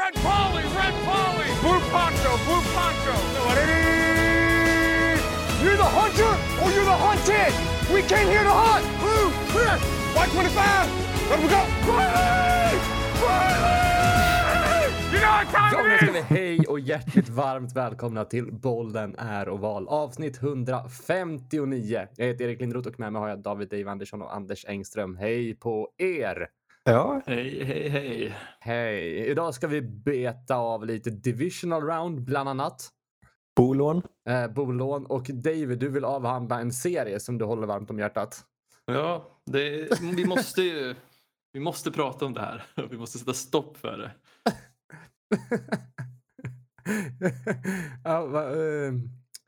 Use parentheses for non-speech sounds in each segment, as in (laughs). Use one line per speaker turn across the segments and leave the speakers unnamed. Red Polly, Red Polly, Blue Poncho, Blue Poncho. You're the hunter or you're the hunted. We came here to hunt. Blue, clear. White 25. Let we go. Riley! Riley! You know what
Ja,
time
men
it
ska
is.
vi hej och hjärtligt varmt välkomna till Bollen är oval avsnitt 159. Jag heter Erik Lindroth och med mig har jag David Dave Andersson och Anders Engström. Hej på er!
Ja,
Hej, hej, hej.
Hej! Idag ska vi beta av lite divisional round bland annat.
bolån.
Eh, bolån och David, du vill avhandla en serie som du håller varmt om hjärtat. (laughs)
Ja, det, vi måste ju vi måste prata om det här. (laughs) Vi måste sätta stopp för det.
ja, va, ehm,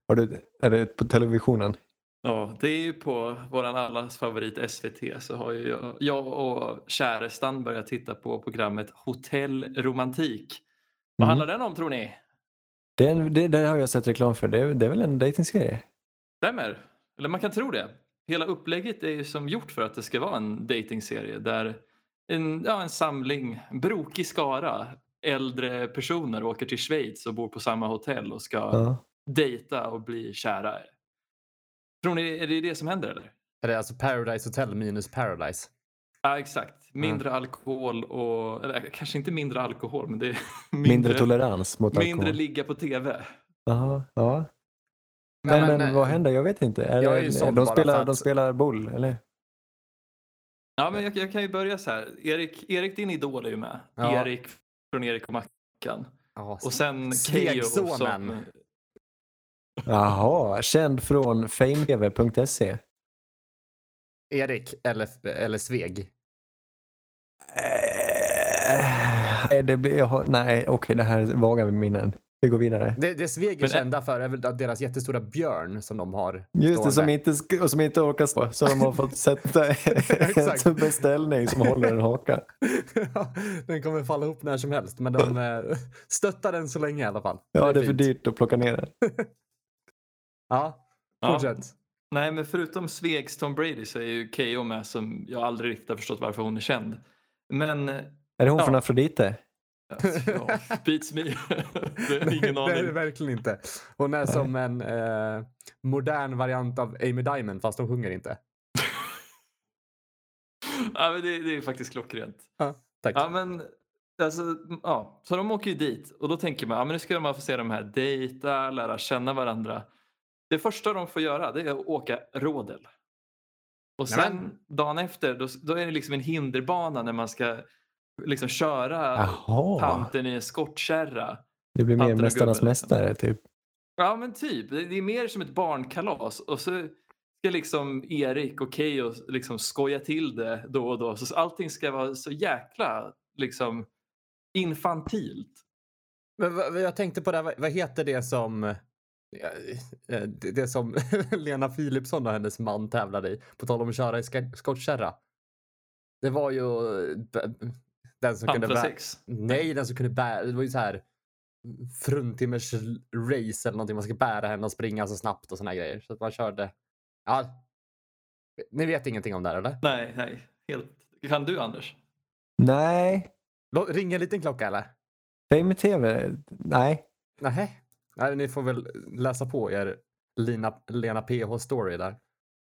Har du, är det på televisionen?
Ja, det är ju på våran allas favorit SVT så har ju jag, jag och kärestan börjat titta på programmet Hotell Romantik.
Mm.
Vad handlar den om tror ni?
Den, det, den har jag sett reklam för. Det, är- det är väl en dejtingserie?
Stämmer? Eller man kan tro det. Hela upplägget är ju som gjort för att det ska vara en datingserie där en, ja, en samling, en brokig skara äldre personer åker till Schweiz och bor på samma hotell och ska
Ja.
dejta och bli kära. Tror ni är det det som händer eller?
är det alltså Paradise Hotel minus Paradise?
Ja exakt, mindre alkohol och eller, eh, kanske inte mindre alkohol men det är (laughs) mindre,
Mindre tolerans mot alkohol.
mindre ligga på tv.
Jaha, ja.
Nej,
Men, men,
eh,
vad händer? Jag vet inte. Är
Jag
det-
är ju såld
de,
bara för
spelar,
att-
de spelar boll, eller?
Ja men jag, jag kan ju börja så här. Erik, Erik din idol är ju med.
Ja.
Erik från Erik och Mackan.
ja,
Och sen Keyyo
Svegsonen.
som...
Jaha, känd från fametv.se.
Erik eller, eller Sveg?
Eh, eh, det blir, jag har, nej, okej, det här är vaga minnen. Vi går vidare.
Det, det Sveg är
Men-
kända för är väl deras jättestora björn som de har. (laughs)
Just det, som
stående.
inte, sk- och som inte orkar stå. Så de har fått
(laughs)
sätta
Exakt.
(laughs) en beställning som håller en haka.
Ja, den kommer falla ihop när som helst, men
(laughs)
de eh, stöttar den så länge i alla fall.
Ja, det är för
fint.
dyrt att plocka ner den.
Ja,
Ja.
fortsätt.
Nej men förutom Svegs Tom Brady så är ju Keyyo med som jag aldrig riktigt har förstått varför hon är känd. Men
Är det hon
Ja.
från Afrodite?
Ja, beats me. (laughs) Det
(laughs)
är ingen
Nej, det är det
aning.
verkligen inte. Hon är som en eh, modern variant av Amy Diamond, fast hon sjunger inte.
Ja, men det, det är faktiskt klockrent.
Tack.
Ja, men, alltså, ja. Så de åker ju dit och då tänker man ja, men nu ska man få se de här dejta, lära känna varandra. Det första de får göra det är att åka rodel. Och sen
Nämen.
dagen efter då, då är det liksom en hinderbana när man ska liksom köra
Jaha,
tanten i en skottkärra.
det blir mer
Tanten och
Mästarnas
gubben. liksom.
mästare typ.
Ja men typ. Det det är mer som ett barnkalas. Och så ska liksom Erik och Keyyo liksom skoja till det då och då. Så allting ska vara så jäkla liksom infantilt.
Men vad, vad jag tänkte på det, här, vad, vad heter det som eh, eh, det, det som (laughs) Lena Philipsson och hennes man tävlade i? På tal om att köra i ska- skottkärra. Det var ju eh, b- den som kunde bära...
Pantrasex.
Nej, den som kunde bära... Det var ju så här fruntimmers race eller någonting. Man ska bära henne och springa så snabbt och såna här grejer. Så att man körde... Ja. Ni vet ingenting om det här eller?
Nej, nej. Helt. Kan du Anders?
Nej,
Lå- Ring en liten klocka eller?
Fame TV, nej.
Nej. Nej, ni får väl läsa på er Lina, Lena PH story där.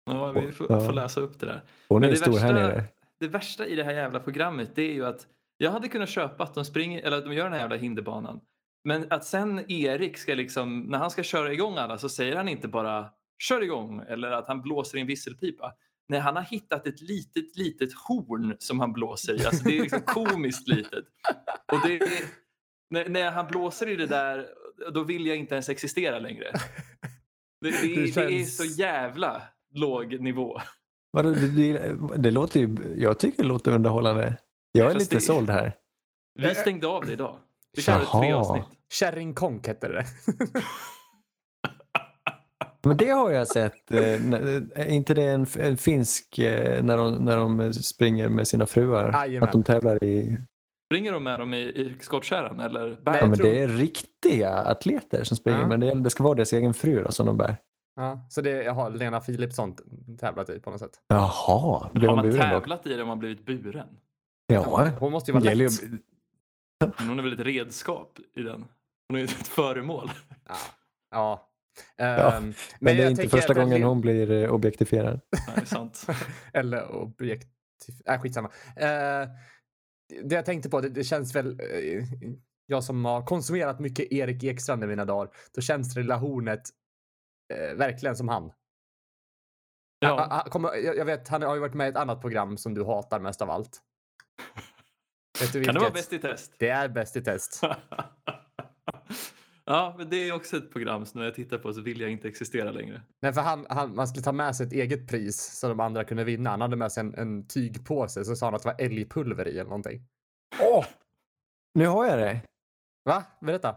Ja, vi får,
Ja.
får läsa upp det där.
Hon
Men
är ju
det
stor här
värsta-
nere.
Det värsta i det här jävla programmet det är ju att jag hade kunnat köpa att de springer eller att de gör den här jävla hinderbanan. Men att sen Erik ska liksom när han ska köra igång alla så säger han inte bara kör igång eller att han blåser i en visselpipa. Nej, han har hittat ett litet, litet horn som han blåser i. Alltså, det är liksom komiskt litet. Och det är, när, när han blåser i det där, då vill jag inte ens existera längre. Det, det,
Det
det, är
känns-
så jävla låg nivå.
Vadå, det, det, det låter ju, jag tycker det låter underhållande. Jag är
Fast
lite
det-
såld här.
Vi stängde av det idag. Vi körde
Jaha.
tre avsnitt.
Kärringkonk hette det.
Men det har jag sett. eh, när- Är inte det en, en finsk eh, när de, när de springer med sina fruar?
Jajamän.
Att de tävlar i...
Springer de med dem i, i skottkärran eller?
Nej,
Ja,
bär?
men
tror-
det är riktiga atleter som springer.
Ja.
Men det, det ska vara deras egen fru då, som de bär.
Ja, så det har Lena Philipsson tävlat i typ på något sätt.
Jaha, blev hon
Har man
buren då?
tävlat i det och man blivit buren?
Ja,
Hon måste ju
det
vara
gäller
lätt.
ju,
Men hon är väl ett redskap i den? Hon är ju ett föremål.
Ja.
Ja,
Ehm, men
Men det är
jag
inte
tänker
första
att den
gången
lin-
hon blir eh, objektifierad.
Nej, det är sant.
Eller objektiv... Äh, skitsamma. Eh, det jag tänkte på, det, det känns väl... eh, jag som har konsumerat mycket Erik Ekstrand i mina dagar, då känns relationet eh, verkligen som han. Ah,
Ja,
ah, kommer- jag, jag vet, han har ju varit med i ett annat program som du hatar mest av
(laughs)
allt. Vet du vilket?
kan det vara Bäst i test?
Det är Bäst i test.
ja, men det är också ett program som när jag tittar på så vill jag inte existera längre.
Nej, för han, han, man skulle ta med sig ett eget pris så de andra kunde vinna. Han hade med sig en, en tygpåse så sa han att det var älgpulver i eller någonting.
Åh! Nu har jag det.
Va? Berätta.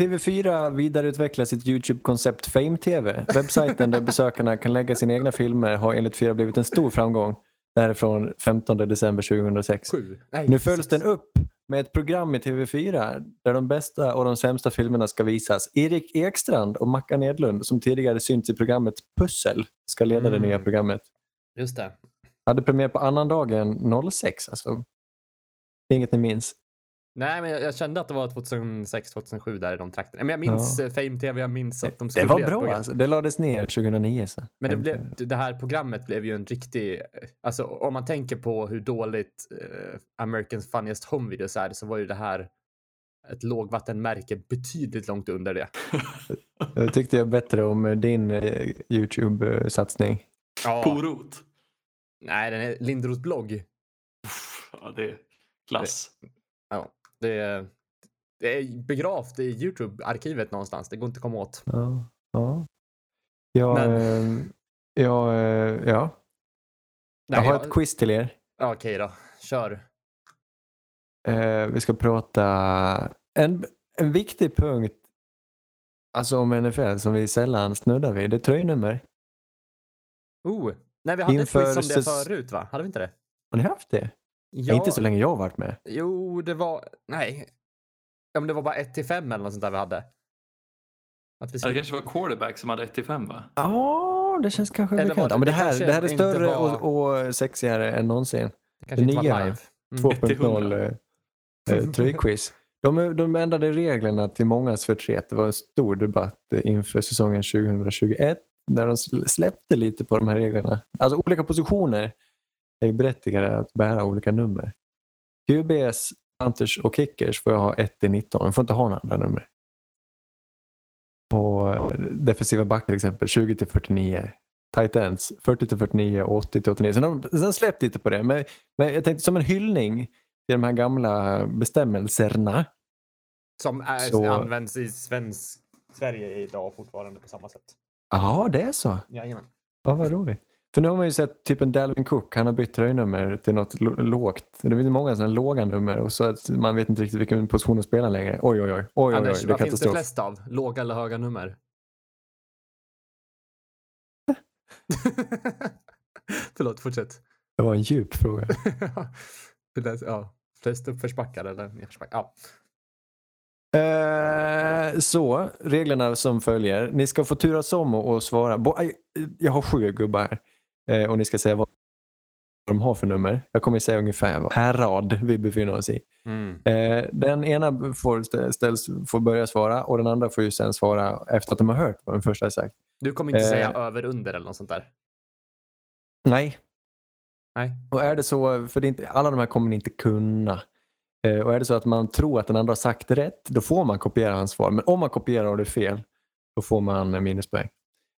TV4 vidareutvecklar sitt YouTube-koncept Fame TV. Webbsajten där (laughs) besökarna kan lägga sina egna filmer har enligt fyra blivit en stor framgång. Det här är från 15 december 2006.
Sju? Nej,
Nu följs
sex.
den upp med ett program i TV4 där de bästa och de sämsta filmerna ska visas. Erik Ekstrand och Mackan Edlund som tidigare synts i programmet Pussel ska leda det
Mm.
nya programmet.
Just det.
Hade premiär på annandagen 06 alltså. Inget ni minns.
Nej, men jag, jag kände att det var 2006, 2007 där i de trakterna. Men jag minns ja. Fame TV, jag minns att de
Det
skulle
var
göra ett
bra
program.
alltså. Det lades ner 2009. Så.
Men det, blev, det här programmet blev ju en riktig... Alltså om man tänker på hur dåligt eh, Americans funniest home videos är så var ju det här ett lågvattenmärke betydligt långt under det.
Jag tyckte jag bättre om eh, din eh, YouTube-satsning.
Ja.
Porot.
Nej, den är Lindros blogg.
Ja, det är klass.
Det är, det är begravt i Youtube-arkivet någonstans. Det går inte att komma åt.
Ja. Ja. Jag,
Men-
eh, jag, eh, ja. jag
Nej,
har
jag-
ett quiz till er.
Ja, Okej då, kör.
Eh, vi ska prata en, en viktig punkt alltså om NFL som vi sällan snuddar vid. Det är tröjnummer.
Oh. Nej, vi hade
Inför
ett quiz om det
säs-
förut va? Hade vi inte det?
Har ni haft det?
Ja,
Inte så länge jag har varit med.
Jo, det var... Nej. Ja, men det var bara 1 till 5 eller något sånt där vi hade. Att vi
Ja, Det
skulle...
kanske var quarterback som hade 1 till 5 va?
Ja, det känns kanske
Eller var
bekant.
det-
Ja, men det,
det
här,
kanske
det här är
inte
större
var-
och, och sexigare än någonsin.
Det kanske inte
nya.
var live. Mm.
2.0
(laughs)
eh, eh, tröjquiz. De, de ändrade reglerna till mångas förtret. Det var en stor debatt eh, inför säsongen 2021 när de sl- släppte lite på de här reglerna. Alltså olika positioner är berättigade att bära olika nummer. QBs, Panthers och Kickers får jag ha 1 till 19. De får inte ha några andra nummer. På eh, defensiva backar till exempel 20 till 49. Tight ends 40 till 49 och 80 till 89. Sen har de sen släppt lite på det. Men men jag tänkte som en hyllning till de här gamla bestämmelserna.
Som är,
Så-
används i svensk... Sverige idag fortfarande på samma sätt.
Ja, det är så.
Jajamän.
Ja, vad roligt. För nu har man ju sett typ en Dalvin Cook, han har bytt tröjnummer till något lo- lågt. Det finns många sådana låga nummer och så att man vet inte riktigt vilken position de spelar längre. Oj, oj, oj. oj, oj,
Anders,
oj. Det är
vad finns det
katastrof.
flest av? Låga eller höga
(laughs)
nummer? Förlåt, fortsätt. (laughs)
Det var en djup fråga.
Det där- ja. Flest uppförsbackar eller nedförsbackar? Ja.
Eh, så, reglerna som följer. Ni ska få turas om och, och svara. Bo, aj, jag har sju gubbar här. Eh, och ni ska säga vad de har för nummer. Jag kommer säga ungefär vad härad vi befinner oss i. Eh, den ena får, stä- ställs, får börja svara och den andra får ju sen svara efter att de har hört vad den första har sagt.
Du kommer inte
Eh.
säga över, under eller något sånt där?
Nej.
Nej.
Och är det så, för det är inte, alla de här kommer ni inte kunna. Eh, och är det så att man tror att den andra har sagt rätt, då får man kopiera hans svar. Men om man kopierar och det är fel, då får man eh, minuspoäng.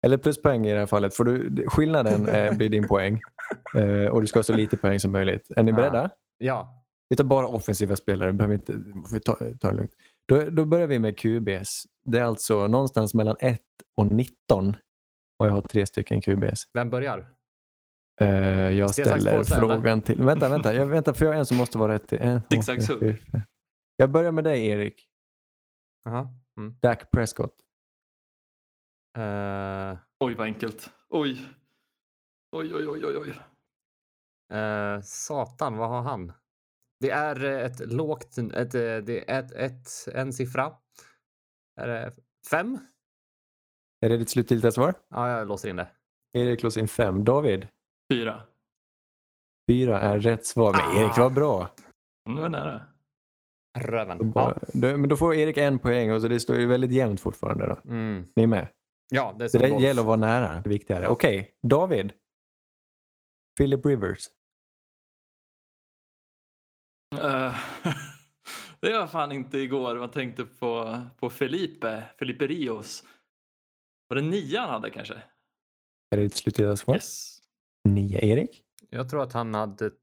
Eller pluspoäng i det här fallet, för du, skillnaden eh, blir din poäng. Eh, och du ska ha så lite poäng som möjligt. Är ni
Ja.
beredda?
Ja.
Vi tar bara offensiva spelare, behöver inte, vi ta, ta det lugnt. Då, då börjar vi med QBs. Det är alltså någonstans mellan 1 och 19 och jag har tre stycken QBs.
Vem börjar?
Eh, jag
Sten, sax,
ställer
påse, eller?
frågan till... Vänta, vänta, jag, vänta, för jag har en som måste vara rätt. till- En, två,
Zig zag
tre,
zug.
fyra, fem. Jag börjar med dig Erik.
Aha.
Dak Prescott.
Eh,
Oj vad enkelt. Oj. Oj, oj, oj, oj, oj.
eh, satan, vad har han? Det är eh, ett lågt... Ett, eh, det är ett, ett, en siffra. Är det fem?
Är det ditt slutgiltiga svar?
Ja, jag låser in det.
Erik låser in fem. David?
Fyra.
Ah.
Fyra är rätt svar. Men Erik, vad bra.
Nu är jag nära.
Röven.
Bara,
Ja.
då, men då får Erik en poäng och så det står ju väldigt jämnt fortfarande. Då.
Mm.
Ni är med?
ja, det är
Så
som
det
golf.
gäller att vara nära, det viktiga är det. Okej, David. Philip Rivers.
Eh, (laughs) det var fan inte igår. Man tänkte på, på Felipe, Felipe Rios. Var det nian han hade kanske?
Är det ditt slutgiltiga svar?
Yes.
Nio, Erik.
Jag tror att han hade t-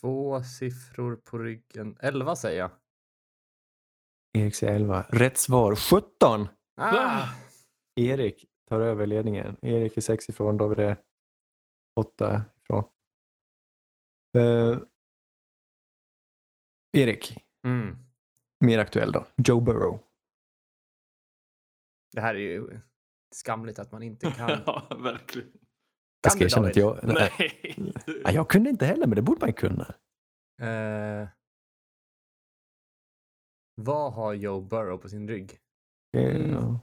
två siffror på ryggen. Elva säger jag.
Erik säger 11. Rätt svar 17.
Ah!
Erik tar över ledningen. Erik är 6 ifrån, David är 8 ifrån. Eh, Erik,
Mm.
mer aktuell då. Joe Burrow.
Det här är ju skamligt att man inte
(laughs)
kan. kan
(laughs) ja, verkligen.
Jag ska
du,
erkänna att
David?
jag, nej.
Nej.
Ja, jag kunde inte heller, men det borde man ju kunna.
Eh, vad har Joe Burrow på sin rygg?
Eh,
Mm.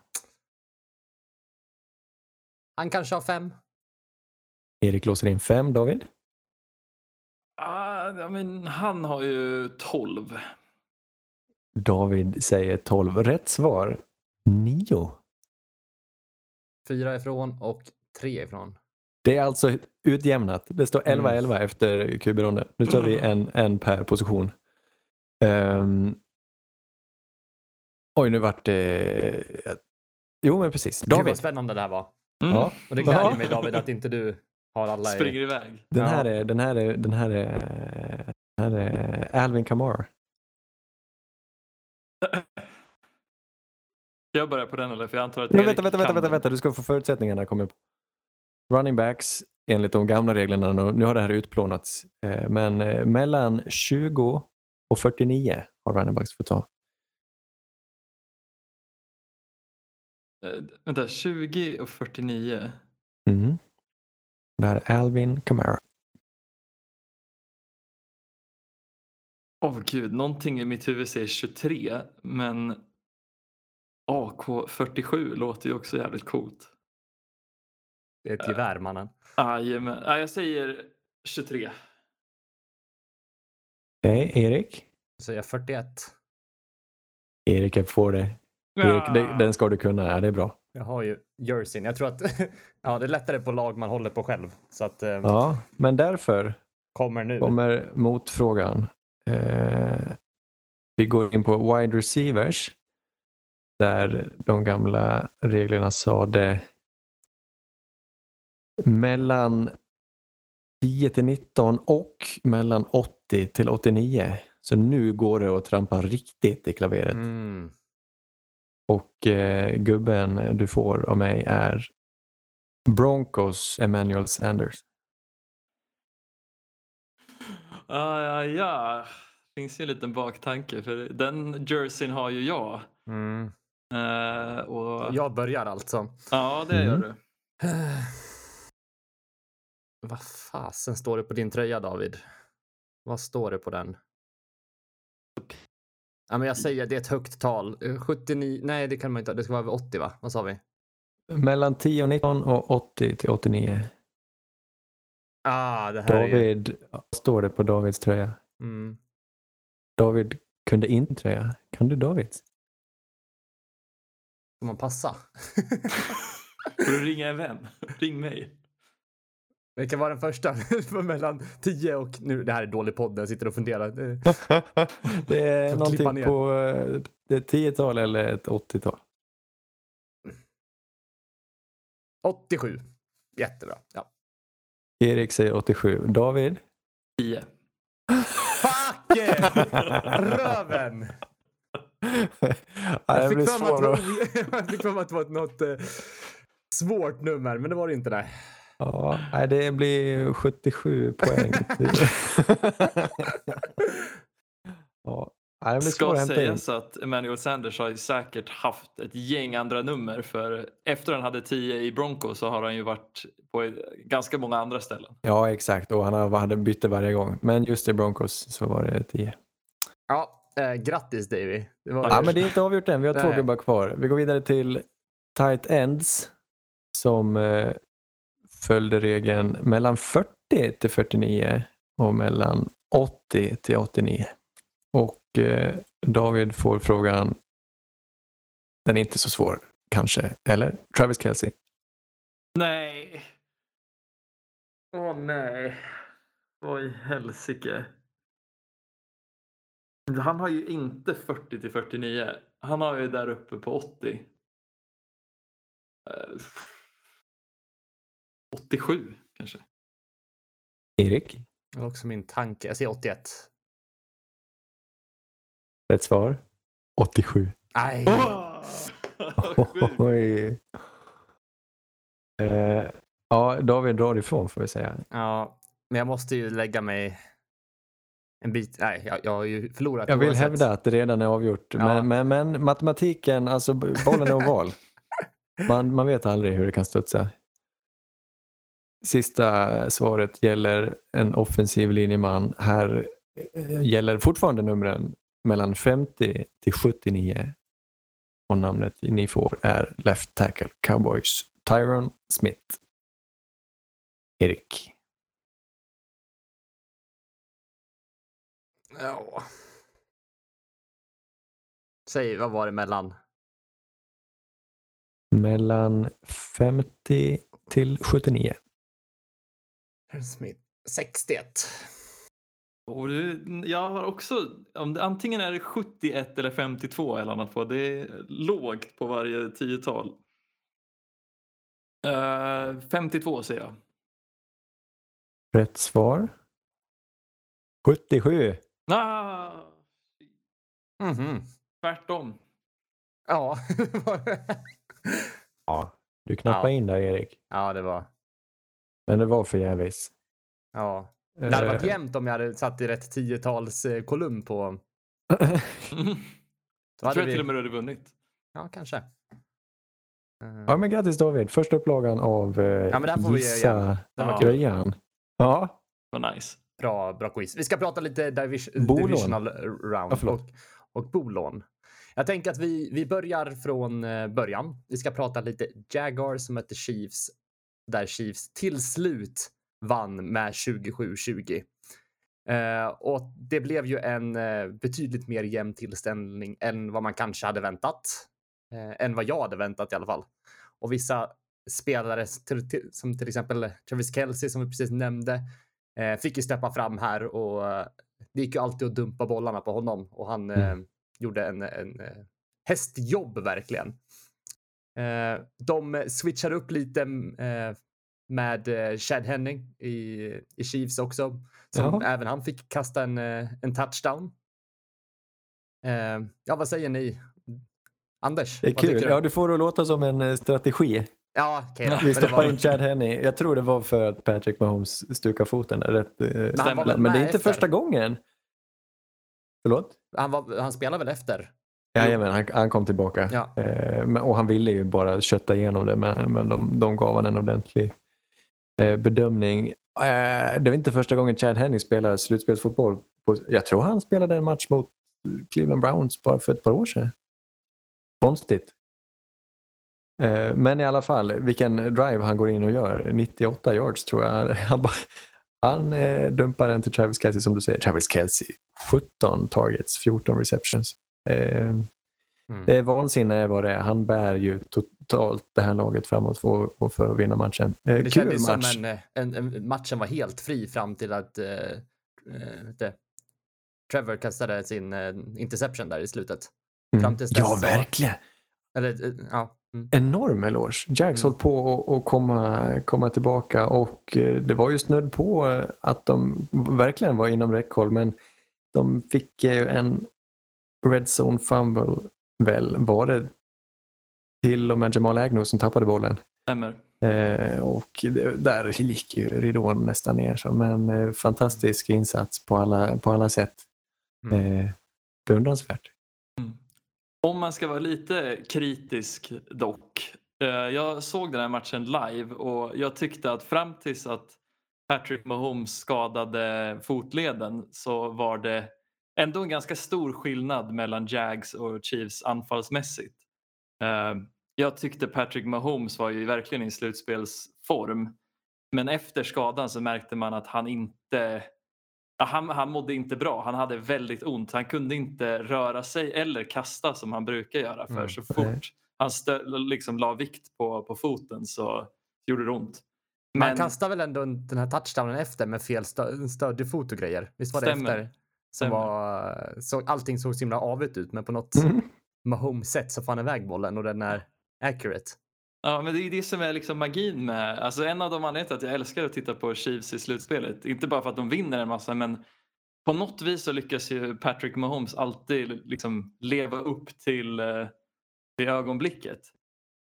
Han kanske har fem.
Erik låser in 5, David.
(laughs) Ah, ja, men han har ju 12.
David säger 12. Rätt svar 9.
Fyra ifrån och tre ifrån.
Det är alltså utjämnat. Det står
Mm.
11-11 efter kuberonden. Nu tar vi en, en per position. Ehm. Oj, nu vart det... eh, Jo, men precis.
Gud
David.
vad spännande det här var.
Mm.
Ja,
Och det
Ja.
gläder mig David att inte du har alla. i-
Springer iväg.
den
Ja.
här är, den här är, den här är, den här är Alvin Kamara.
Ska jag börja på den eller? För jag antar att
Men
Erik
vänta, vänta, vänta,
kan
vänta,
den.
vänta, du ska få förutsättningarna. Kommer jag på. Running backs enligt de gamla reglerna, nu nu har det här utplånats, eh, men eh, mellan 20 och 49 har running backs fått ta.
Eh, Vänta, 20 och 49.
Mm. Det här är Alvin Kamara.
Åh gud, någonting i mitt huvud säger 23, men AK47 låter ju också jävligt coolt.
Det är ett gevär mannen.
Jajamän, ah, jag säger 23.
Okej, Erik.
Så jag 41.
Erik, jag får det. Erik, det, den ska du kunna. Ja, det är bra.
Jag har ju jerseyn. Jag tror att (laughs) ja, det är lättare på lag man håller på själv. Så att eh,
Ja, men därför
kommer nu.
kommer motfrågan. Eh, vi går in på wide receivers. Där de gamla reglerna sa det mellan 10 till 19 och mellan 80 till 89. Så nu går det att trampa riktigt i klaveret.
Mm.
Och eh, gubben du får av mig är Broncos Emmanuel Sanders.
Ah, ja, ja. finns ju en liten baktanke för den jerseyn har ju jag.
Mm.
Eh, och... ja.
Jag börjar alltså.
det gör
Mm.
du.
(sighs) Vad fasen står det på din tröja David? Vad står det på den? Ja, men jag säger det är ett högt tal. Eh, 79, nej det kan man inte ha. Det ska vara över 80 va? Vad sa vi?
Mellan 10 och 19 och 80 till 89.
Ah, det här är ju...
David, vad står det på Davids tröja?
Mm.
David kunde inte tröja. Kan du Davids?
Får man passa? (laughs)
Får du ringa en vän? (laughs) Ring mig.
Det kan vara den första. (laughs) För mellan 10 och... Nu, det här är dålig podd. Jag sitter och funderar. Eh,
det är
Får klippa
någonting
ner.
på eh, det är ett 10-tal eller ett 80-tal.
87. Jättebra. Ja.
Erik säger 87. David?
10.
Fuck! (laughs) it! Röven!
Ja,
Jag
det blir
fick för mig
svårt.
att- (laughs) jag fick för mig att det var ett- något eh, svårt nummer, men det var det inte. Nej.
Ja, nej, det blir 77 poäng. (laughs) ja, nej, det blir svårt att hämta
Ska
in.
sägas att Emmanuel Sanders har ju säkert haft ett gäng andra nummer för efter han hade 10 i Bronco så har han ju varit på ett- ganska många andra ställen.
Ja, exakt. Och han har- hade bytte varje gång. Men just i Broncos så var det 10.
Ja, eh, grattis Davy. Det var
Ja, men det är inte avgjort än. Vi har två
Nej.
gubbar kvar. Vi går vidare till tight ends som eh, följde regeln mellan 40 till 49 och mellan 80 till 89. Och eh, David får frågan. Den är inte så svår kanske. Eller? Travis Kelce.
Nej. Åh nej. Vad i helsike. Han har ju inte 40 till 49. Han har ju där uppe på 80. Eh, 87 kanske.
Erik?
Det var också min tanke. Jag säger 81.
Rätt svar? 87.
Nej.
Åh! Vad sjukt.
(laughs) Oj. Eh, ja, David drar ifrån får vi säga.
Ja, men jag måste ju lägga mig en bit. Nej, jag, jag har ju förlorat.
Jag vill
oavsett.
hävda att det redan är avgjort.
Ja.
Men, men, men matematiken, alltså b- bollen är oval. Man, man vet aldrig hur det kan studsa. Sista svaret gäller en offensiv linjeman. Här eh, gäller fortfarande numren mellan 50 till 79. Och namnet ni får är Left Tackle Cowboys, Tyron Smith. Erik.
Ja. Säg, vad var det mellan?
Mellan 50 till 79.
Smith. 61.
Och du, jag har också, om det, antingen är det 71 eller 52 eller annat på. Det är lågt på varje tiotal. Eh, 52 säger jag.
Rätt svar. 77.
Ah,
Mhm. (laughs)
tvärtom.
Ja. (laughs) det var det.
Ja. Du knappade
Ja.
in där Erik.
ja, det var.
Men det var förgäves.
Ja. Det hade varit
Eh,
jämnt om jag hade satt i rätt tiotalskolumn på.
Eh,
Mm.
Då
Jag
hade
tror jag
vi...
till och med du hade vunnit.
Ja, kanske. Eh,
ja men grattis David. Första upplagan av eh,
men det här får vi göra
Gissa
Den var kul.
Gröjan. Ja,
Vad nice.
Bra, bra quiz. Vi ska prata lite divis-
Bolån.
divisional round
Ja, förlåt.
och, och bolån. Jag tänker att vi, vi börjar från eh, början. Vi ska prata lite Jaguars som mötte Chiefs där Chiefs till slut vann med 27-20. Eh, och det blev ju en eh, betydligt mer jämn tillställning än vad man kanske hade väntat. Eh, än vad jag hade väntat i alla fall. Och vissa spelare till, till, som till exempel Travis Kelce som vi precis nämnde eh, fick ju steppa fram här och eh, det gick ju alltid att dumpa bollarna på honom och han eh,
Mm.
gjorde en, en eh, hästjobb verkligen. Eh, de switchar upp lite eh, med eh, Chad Henning i, i Chiefs också. Som
Jaha.
även han fick kasta en, eh, en touchdown. Eh, ja, vad säger ni? Anders?
det är
vad tycker
kul.
du?
Ja, du får det att låta som en eh, strategi.
Ja, okej då.
(laughs) Vi
Men det var-
stoppar in Chad Henney. Jag tror det var för att Patrick Mahomes stukade foten. Där, rätt, eh,
han var väl
men det är
med
inte
efter?
första gången. Förlåt?
Han, var, han spelar väl efter?
Jajamän, han, han kom tillbaka.
Ja.
Eh, men, och han ville ju bara kötta igenom det, men, men de, de gav han en ordentlig eh, bedömning. Eh, det var inte första gången Chad Henning spelar slutspelsfotboll. På, jag tror han spelade en match mot Cleveland Browns bara för ett par år sedan. Konstigt. Eh, men i alla fall, vilken drive han går in och gör. 98 yards tror jag. (laughs) Han, bara, han eh, dumpar den till Travis Kelce som du säger. Travis Kelce, 17 targets, 14 receptions. Eh,
Mm.
det är vansinne vad det är. Han bär ju totalt det här laget framåt för, och för att vinna matchen. Eh,
Det
kul
kändes
match.
som en, eh, en, en, matchen var helt fri fram till att eh, eh, vet det, Trevor kastade sin eh, interception där i slutet. fram tills dess
ja,
så-
verkligen.
Eller, eh, ja. Mm.
Enorm eloge. Jags
Mm.
höll på att- att komma, komma tillbaka och eh, det var ju snudd på eh, att de verkligen var inom räckhåll men de fick ju en red zone fumble väl. Var det till och med Jamal Agnew som tappade bollen?
Stämmer.
Eh, och det, där gick ju ridån nästan ner. Så, men eh, fantastisk insats på alla, på alla sätt.
Mm.
Eh, beundransvärt.
Om man ska vara lite kritisk dock. eh, Jag såg den här matchen live och jag tyckte att fram tills att Patrick Mahomes skadade fotleden så var det ändå en ganska stor skillnad mellan Jags och Chiefs anfallsmässigt. Eh, Jag tyckte Patrick Mahomes var ju verkligen i slutspelsform. Men efter skadan så märkte man att han inte Ja, han, han mådde inte bra. Han hade väldigt ont. Han kunde inte röra sig eller kasta som han brukar göra. För
Mm,
så
nej.
fort han stö, liksom la vikt på, på foten så gjorde det ont.
Man
Men-
kastar väl ändå den här touchdownen efter med fel stö- stödjefot och grejer? Visst var det
Stämmer.
efter? Som
Stämmer.
var, eh, så, allting såg så himla avigt ut, men på något
Mm.
Mahomes-sätt så får han iväg bollen och den är accurate.
Ja, men det är det som är liksom magin med... Alltså en av de anledningarna till att jag älskar att titta på Chiefs i slutspelet. Inte bara för att de vinner en massa, men på något vis så lyckas ju Patrick Mahomes alltid liksom leva upp till, eh, till ögonblicket.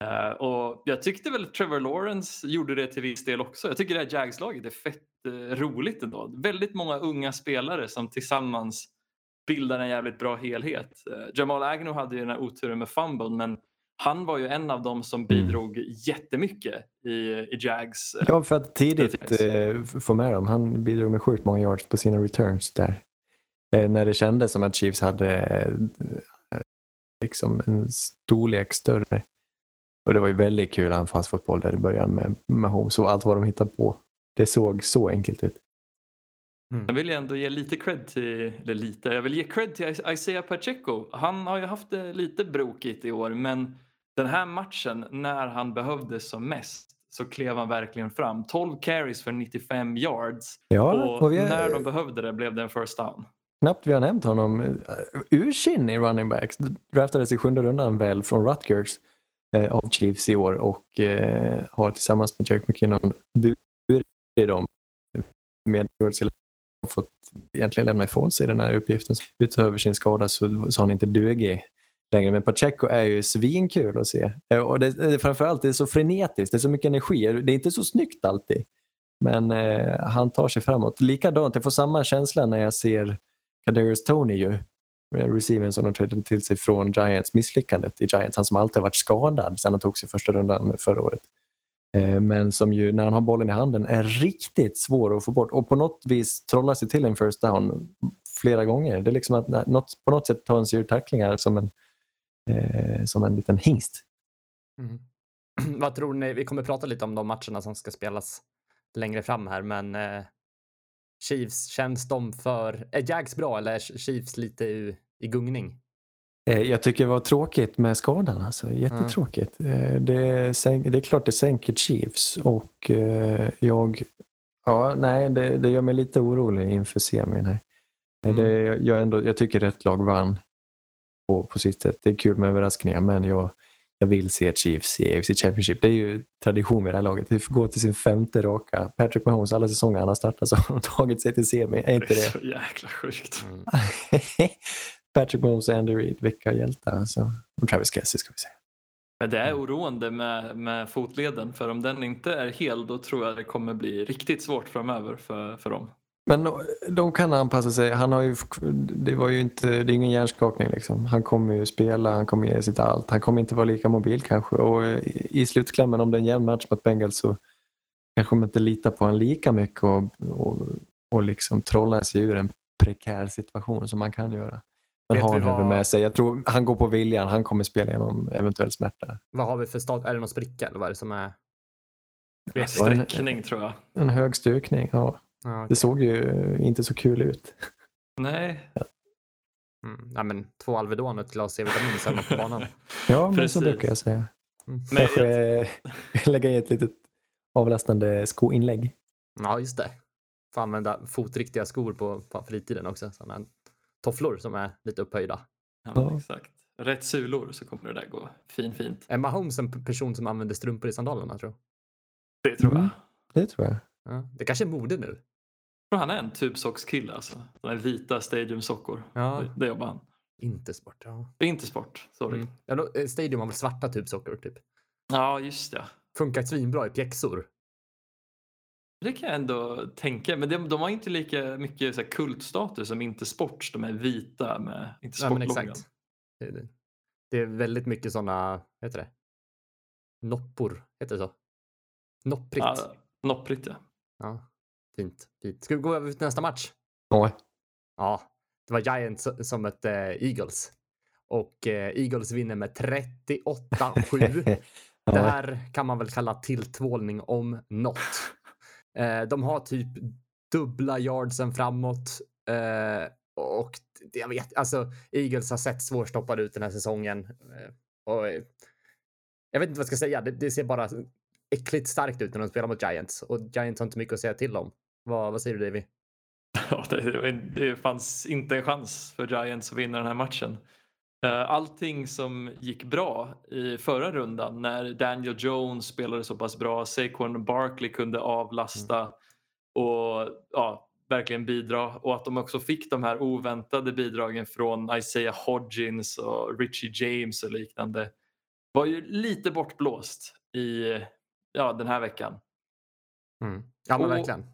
Eh, och jag tyckte väl Trevor Lawrence gjorde det till viss del också. Jag tycker det här Jags-laget är fett eh, roligt ändå. Väldigt många unga spelare som tillsammans bildar en jävligt bra helhet. Eh, Jamal Agnew hade ju den här oturen med fumble, men han var ju en av dem som bidrog jättemycket i, i Jags. eh,
Ja, för att tidigt eh, få med dem. Han bidrog med sjukt många yards på sina returns där. Eh, när det kändes som att Chiefs hade eh, liksom en storlek större. Och det var ju väldigt kul anfallsfotboll där i början med, med Holmes och allt vad de hittade på. Det såg så enkelt ut.
Jag vill ju ändå ge lite cred till, eller lite, jag vill ge cred till Is- Isaiah Pacheco. Han har ju haft det lite brokigt i år, men den här matchen när han behövdes som mest så klev han verkligen fram. 12 carries för 95 yards
Ja,
och,
och vi
när
har,
de behövde det blev det en first down.
knappt vi har nämnt honom. eh, Ursinnig running backs. Draftades i sjunde rundan väl från Rutgers eh, av Chiefs i år och eh, har tillsammans med Jack McKinnon burit dem med Dorsey har fått egentligen lämna ifrån sig den här uppgiften. Utöver sin skada så, så har han inte dugig längre. Men Pacheco är ju svinkul att se. Eh, Och det, det, framförallt det är så frenetiskt, det är så mycket energi. Det är inte så snyggt alltid. Men eh, han tar sig framåt. Likadant, jag får samma känsla när jag ser Kadarius Tony ju. Receiven som de tradade till sig från Giants, misslyckandet i Giants. Han som alltid har varit skadad sedan han tog sig första rundan förra året. Eh, Men som ju när han har bollen i handen är riktigt svår att få bort och på något vis trollar sig till en first down flera gånger. Det är liksom att na- något, på något sätt tar han sig ur tacklingar som en, eh, som en liten hingst.
(clears throat) Vad tror ni? Vi kommer prata lite om de matcherna som ska spelas längre fram här, men eh, Chiefs, känns de för... Är Jags bra eller är Chiefs lite i, i gungning?
Eh, Jag tycker det var tråkigt med skadan. Alltså. Jättetråkigt. Eh, Det, sänk, det är klart det sänker Chiefs och eh, jag... Ja, nej, det, det gör mig lite orolig inför semin här. Eh, Det, jag, jag ändå, jag tycker rätt lag vann på, på sitt sätt. Det är kul med överraskningar men jag, jag vill se Chiefs i AFC Championship. Det är ju tradition med det här laget. Det går till sin femte raka. Patrick Mahomes, alla säsonger han har startat så har de tagit sig till semi. Är inte
Det
det
är så jäkla sjukt.
(laughs) Patrick Mahomes och Andy Reid, vilka hjältar alltså. Och Travis Kelsey ska vi säga.
Men det är oroande med, med fotleden för om den inte är hel då tror jag det kommer bli riktigt svårt framöver för, för dem.
Men de- de kan anpassa sig. Han har ju, det, var ju inte, det är ingen hjärnskakning. Liksom. Han kommer ju spela, han kommer ge sitt allt. Han kommer inte vara lika mobil kanske. Och eh, i slutklämmen, om det är en jämn match mot Bengals så kanske de inte litar på honom lika mycket och, och, och liksom trollar sig ur en prekär situation som man kan göra. Men
Vet
har
vi
han huvud
vad-
med sig. Jag tror han går på viljan. Han kommer spela genom eventuell smärta.
Vad har vi för stat? Är det någon spricka eller vad är det som är?
var en-
Sträckning tror jag.
En hög stukning, ja.
Ja,
Det såg ju inte så kul ut.
Nej,
mm. Nej, men två Alvedon och ett glas C-vitamin sen på banan. Mm,
Ja, men
Precis.
så brukar jag säga.
Men
Kanske eh, (laughs) lägga i ett litet avlastande skoinlägg.
Ja, just det. Får använda fotriktiga skor på, på fritiden också. Sådana tofflor som är lite upphöjda.
Ja,
Ja.
exakt. Rätt sulor så kommer det där gå fin fint.
Är Mahomes en p- person som använder strumpor i sandalerna tror jag?
Det tror
Mm.
jag.
Det tror jag.
Ja. Det kanske är mode nu.
Jag tror han är en tubsockskille alltså. De här vita stadiumsockor.
Ja.
Det, det jobbar han.
Inte sport. Ja.
Det är inte sport. Sorry.
Mm. Ja, då, eh, Stadium har väl svarta tubsockor typ.
Ja, just det.
Funkar svinbra i pjäxor.
Det kan jag ändå tänka. Men de, de har inte lika mycket så här, kultstatus som inte sport. De är vita med inte
Ja, men
sportloggan.
exakt. Det, det- det är väldigt mycket sådana, heter det? Noppor, heter det så? Nopprigt.
Ja,
Ja.
Nopprigt ja.
Fint, fint. Ska vi gå över till nästa match?
Ja. (laughs)
Ja, det var Giants som mötte Eagles. Och eh, Eagles vinner med (laughs) 38-7. Det
ja.
här kan man väl kalla tilltvålning om något. Eh, De har typ dubbla yardsen framåt. Eh, och det- jag vet, alltså Eagles har sett svårstoppade ut den här säsongen. Eh, och, eh, jag vet inte vad jag ska säga. Det, det ser bara äckligt starkt ut när de spelar mot Giants och Giants har inte mycket att säga till om. Vad, vad säger du Davy?
(laughs) Ja, det, det var- det fanns inte en chans för Giants att vinna den här matchen. Eh, Allting som gick bra i förra rundan när Daniel Jones spelade så pass bra, Saquon Barkley kunde avlasta och ja, verkligen bidra och att de också fick de här oväntade bidragen från Isaiah Hodgins och Richie James och liknande var ju lite bortblåst i ja, den här veckan.
Ja men
Och-
verkligen.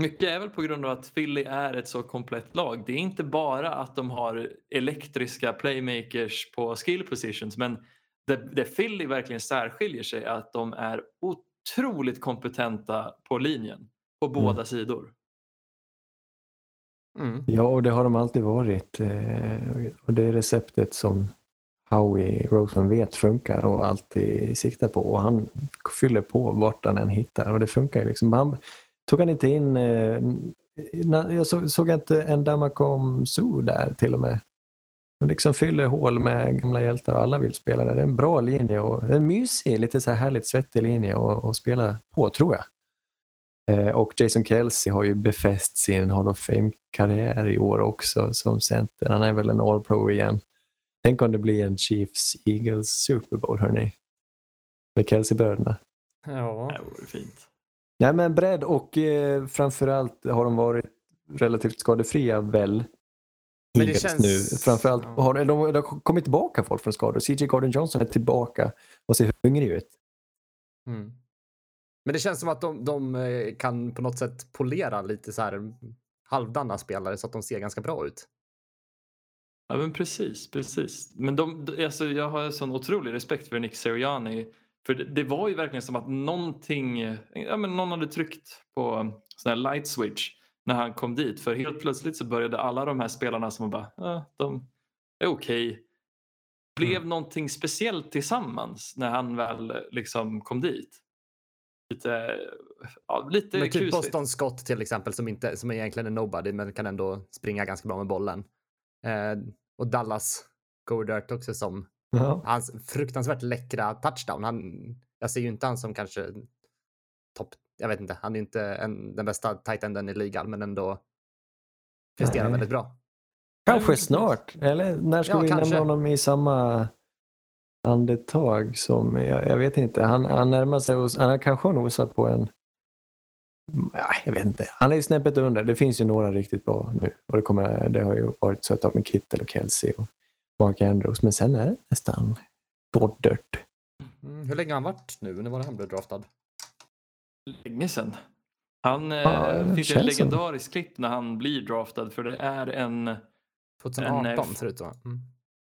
Mycket är väl på grund av att Philly är ett så komplett lag. Det är inte bara att de har elektriska playmakers på skill positions men det, det Philly verkligen särskiljer sig är att de är otroligt kompetenta på linjen på båda sidor.
Mm.
Ja, och det har de alltid varit. Eh, Och det är receptet som Howie Rosen vet funkar och alltid siktar på. Och han fyller på vart han än hittar och det funkar ju liksom. Han tog han inte in... eh, na- Jag såg, såg jag inte en Damakom Zoo där till och med. De liksom fyller hål med gamla hjältar och alla vill spela där. Det är en bra linje och en mysig, lite så här härligt svettig linje att att spela på tror jag. Eh, Och Jason Kelsey har ju befäst sin Hall of Fame-karriär i år också som center. Han är väl en All-Pro igen. Tänk om det blir en Chiefs-Eagles Super Bowl, hörni. Med Kelsey-bröderna.
Ja.
Det vore fint.
Nej, men bredd och eh, framförallt har de varit relativt skadefria väl.
det
Eagles
känns-
nu. Framförallt
ja.
har de, de har kommit tillbaka folk från skador. CJ Garden Johnson är tillbaka och ser hungrig ut.
Mm. Men det känns som att de, de eh, kan på något sätt polera lite så här halvdana spelare så att de ser ganska bra ut.
Ja men precis, precis. Men de, de- alltså, jag har en sån otrolig respekt för Nick Seriani. För det, det var ju verkligen som att någonting, ja men någon hade tryckt på sån här light switch när han kom dit. För helt plötsligt så började alla de här spelarna som var bara, ja, de är okej. Blev
Mm.
någonting speciellt tillsammans när han väl liksom kom dit. Lite, ja, lite
Men typ
kusligt.
Boston Scott till exempel som, inte, som egentligen är nobody men kan ändå springa ganska bra med bollen. Eh, och Dallas Goddard också som
Ja.
hans fruktansvärt läckra touchdown. Han, jag ser ju inte han som kanske topp, jag vet inte, han är inte en, den bästa tight-enden i ligan men ändå presterar
Nej.
väldigt bra.
Kanske snart. Eller när ska
Ja,
vi
kanske.
nämna honom i samma andetag som, jag, jag vet inte, han, han närmar sig, oss- han kanske har nosat på en, ja, jag vet inte, han är ju snäppet under. Det finns ju några riktigt bra nu och det, kommer, det har ju varit så ett tag med Kittel och Kelsey och Mark Andrews, men sen är det nästan Goddard.
Mm, hur länge har han varit nu? När var det han blev draftad?
länge sedan. Han
Ja,
eh,
det
finns ju ett
känns som det.
legendariskt klipp när han blir draftad för det är en, eh,
2018
NF.
ser det ut som. Mm.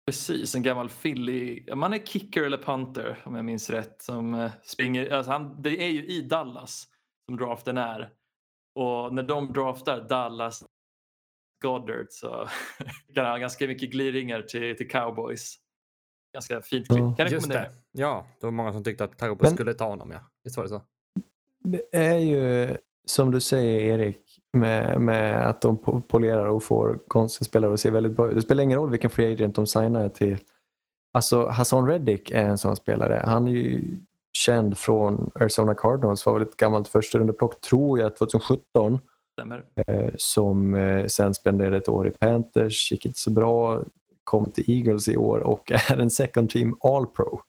precis en gammal Philly, man är kicker eller punter om jag minns rätt som eh, springer, alltså han, det är ju i Dallas som draften är och när de draftar Dallas Goddard så (laughs) kan han ganska mycket gliringar till, till cowboys. Ganska fint klipp,
Ja,
kan rekommendera.
Ja, det var många som tyckte att Tagopo
Men-
skulle ta honom. Ja. Visst var det så?
Det är ju som du säger Erik, med, med att de po- polerar och får konstiga spelare att se väldigt bra ut. Det spelar ingen roll vilken free agent de signar till. Alltså Hassan Reddick är en sån spelare. Han är ju känd från Arizona Cardinals, var väl ett gammalt första rundeplock tror jag 2017
Stämmer.
eh, som eh, sen spenderade ett år i Panthers, gick inte så bra, kom till Eagles i år och (laughs) är en second team All-Pro.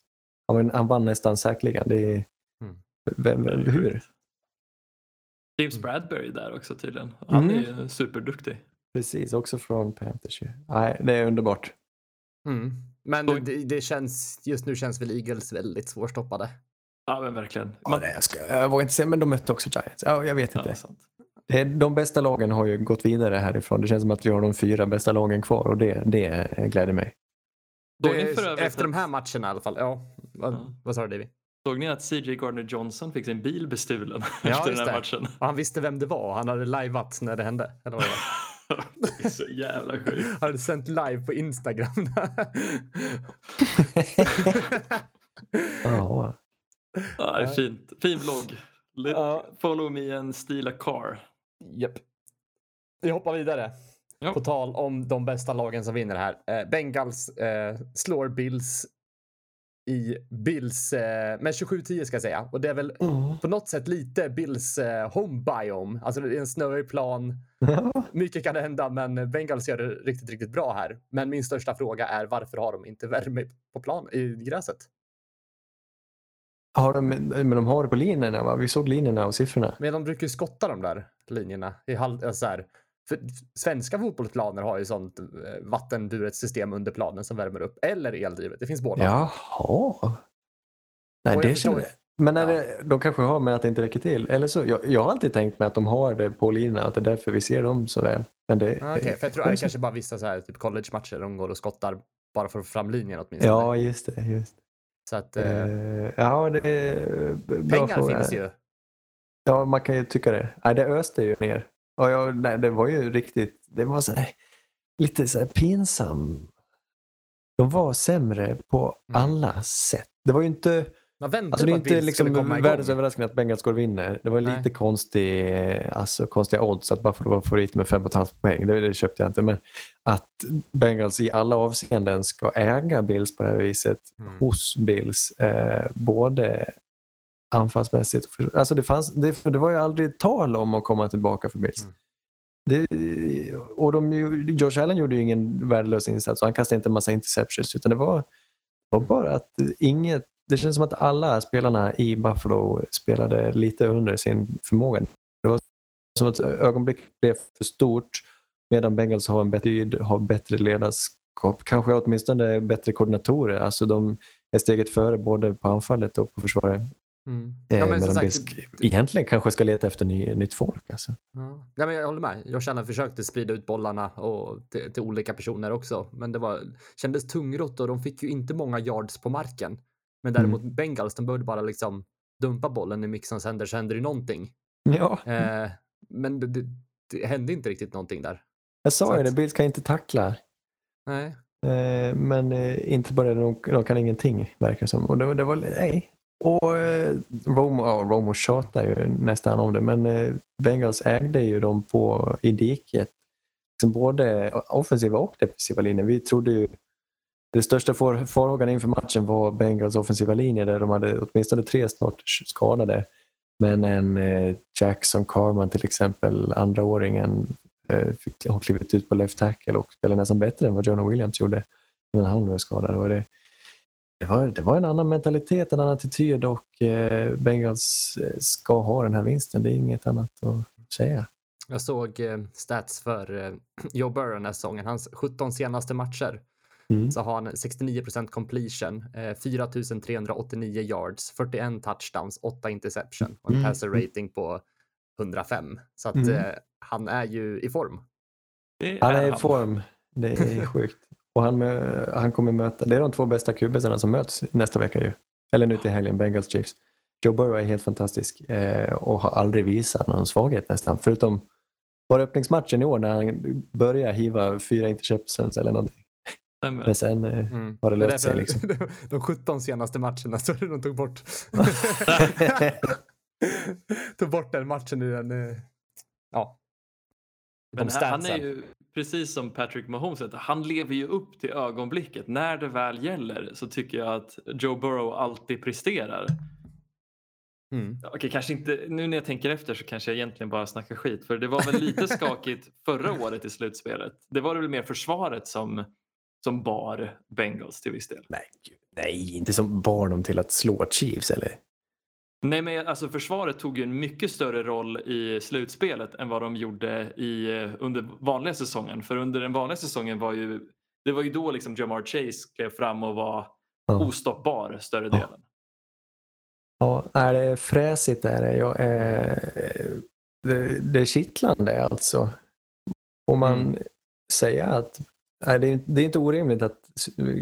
Han, var- han vann nästan säkerligen. Det är,
Mm.
vem, vem, hur?
James Bradbury där också tydligen. Han
Mm.
är ju superduktig.
Precis, också från Panthers. ju. Nej, det är underbart.
Mm. Men
Oj.
det, det känns, just nu känns väl Eagles väldigt svårstoppade.
Ja men verkligen.
Ja, nej, jag, ska, jag vågar inte säga, men de mötte också Giants. Ja, jag vet
Ja,
inte.
sant.
Det är- De bästa lagen har ju gått vidare härifrån. Det känns som att vi har de fyra bästa lagen kvar och det, det gläder mig.
Såg
Det-
ni för övrigt
efter de
att-
här matcherna i alla fall. Ja. Vad,
Ja.
vad sa du Davy?
Såg ni att CJ Gardner-Johnson fick sin bil bestulen (laughs)
Ja, just
efter den här
det.
matchen?
Och han visste vem det var och han hade lajvat när det hände. Eller vad det var.
Det är så jävla
(laughs)
sjukt.
han hade sänt live på Instagram.
(laughs)
(laughs)
Jaha.
Ja, det är fint. Fin vlogg. Let-
Ja.
Follow me and steal a car.
Japp. Vi hoppar vidare.
Ja.
På tal om de bästa lagen som vinner här. Eh, Bengals eh, slår Bills i Bills eh, med 27-10 ska jag säga. Och det är väl
Mm.
på något sätt lite Bills eh, home biome. Alltså det är en snöig plan. Mycket kan hända men Bengals gör det riktigt, riktigt bra här. Men min största fråga är varför har de inte värme på plan i gräset?
Har de, men de har det på linjerna va? Vi såg linjerna och siffrorna.
Men de brukar ju skotta de där linjerna. I halv, alltså så här, för svenska fotbollsplaner har ju sånt eh, vattenburet system under planen som värmer upp. Eller eldrivet. Det finns båda.
Jaha. Nej,
Och jag
det känner jag.
förstår-
Men är
Ja.
det, de kanske har med att det inte räcker till. Eller så, jag, jag har alltid tänkt mig att de har det på linjerna och att det är därför vi ser dem så väl. Men det,
Ah, Okej, för jag tror att det kanske bara vissa så här, typ college-matcher de går och skottar bara för att få fram linjen åtminstone.
Ja, just det. Just.
Så att,
det.
eh,
Eh, ja, det är bra
pengar
fråga.
finns ju.
Ja, man kan ju tycka det. Nej, det öste ju ner. Och jag, nej, det var ju riktigt, det var så här, lite så här pinsam. De var sämre på
Mm.
alla sätt. Det var ju inte,
Man väntar
alltså det är
på att
inte
Bills
liksom
skulle komma igång.
världens överraskning att Bengals går och vinner. Det var
Nej.
lite konstig, eh, alltså, konstiga odds att bara för att vara favorit med 5,5 poäng. Det, det köpte jag inte. Men att Bengals i alla avseenden ska äga Bills på det här viset
Mm.
hos Bills. Eh, både anfallsmässigt och för, alltså det, fanns, det, för det var ju aldrig tal om att komma tillbaka för Bills.
Mm.
Det, och de, ju- Josh Allen gjorde ju ingen värdelös insats och han kastade inte en massa interceptions utan det var, det var bara att inget det känns som att alla spelarna i Buffalo spelade lite under sin förmåga. Det var som att ögonblicket blev för stort medan Bengals har en bättre tid, har bättre ledarskap, kanske åtminstone bättre koordinatorer. Alltså de är steget före både på anfallet och på försvaret.
Mm.
Eh,
Ja, men som
medan
sagt,
Bills egentligen kanske ska leta efter ny, nytt folk. Alltså.
Ja. Nej, men jag håller med. Jag känner att jag försökte sprida ut bollarna och till, till olika personer också. Men det var, kändes tungrott och de fick ju inte många yards på marken. Men däremot Bengals, de började bara liksom dumpa bollen i Mixons händer så händer det någonting.
Ja,
Eh, men det, det, det hände inte riktigt någonting där.
jag sa
så
ju
att-
det, Bills kan inte tackla.
Nej.
Eh, men eh, inte bara det, de, de kan ingenting verkar det som. Och det, det var, nej. Och eh, Romo, ja, Romo tjatar ju nästan om det, men eh, Bengals ägde ju dem på, i diket. Liksom både offensiva och defensiva linjer. Vi trodde ju det största far- farhågan inför matchen var Bengals offensiva linje där de hade åtminstone tre snart skadade. Men en eh, Jackson Carman till exempel, andraåringen, eh, fick, har klivit ut på left tackle och spelar nästan bättre än vad Jonah Williams gjorde innan han blev skadad. Och det, det, var, det var en annan mentalitet, en annan attityd och eh, Bengals eh, ska ha den här vinsten. Det är inget annat att säga.
Jag såg eh, stats för eh, (clears throat) Joe Burrow den här säsongen. Hans 17 senaste matcher
Mm.
så har han 69 completion, eh, 4389 yards, 41 touchdowns, 8 interception och en
Mm.
passer rating på 105. Så att
Mm.
eh, han är ju i form.
Det
Han är i form. Det är sjukt. Och han, mö- han kommer möta, det är de två bästa kubisarna som möts nästa vecka ju. Eller nu till helgen, Bengals Chiefs. Joe Burrow är helt fantastisk eh, och har aldrig visat någon svaghet nästan. Förutom bara öppningsmatchen i år när han börjar hiva fyra interceptions eller någonting.
Stämmer.
Men
(laughs)
sen eh, (laughs)
Mm.
har det
Det är
löst sig.
därför-
Liksom.
(laughs) De 17 senaste matcherna så är det de tog bort.
(laughs)
(laughs) tog bort den matchen i den. eh, Ja.
Men
De
han- han är
statsen.
ju precis som Patrick Mahomes, att han lever ju upp till ögonblicket. När det väl gäller så tycker jag att Joe Burrow alltid presterar.
Mm.
Okej, kanske inte, nu när jag tänker efter så kanske jag egentligen bara snackar skit. För det var
(laughs)
väl lite skakigt förra året i slutspelet. Det var det väl mer försvaret som, som bar Bengals till viss del.
Nej, gud, nej, inte som bar dem till att slå Chiefs eller?
Nej, men alltså försvaret tog ju en mycket större roll i slutspelet än vad de gjorde i, eh, under vanliga säsongen. För under den vanliga säsongen var ju det var ju då liksom Jamar Chase klev fram och var
Ja.
ostoppbar större delen.
Ja, är det är fräsigt är det. Jag är, det, det är kittlande alltså. Får man säga att nej, det, är, det är inte orimligt att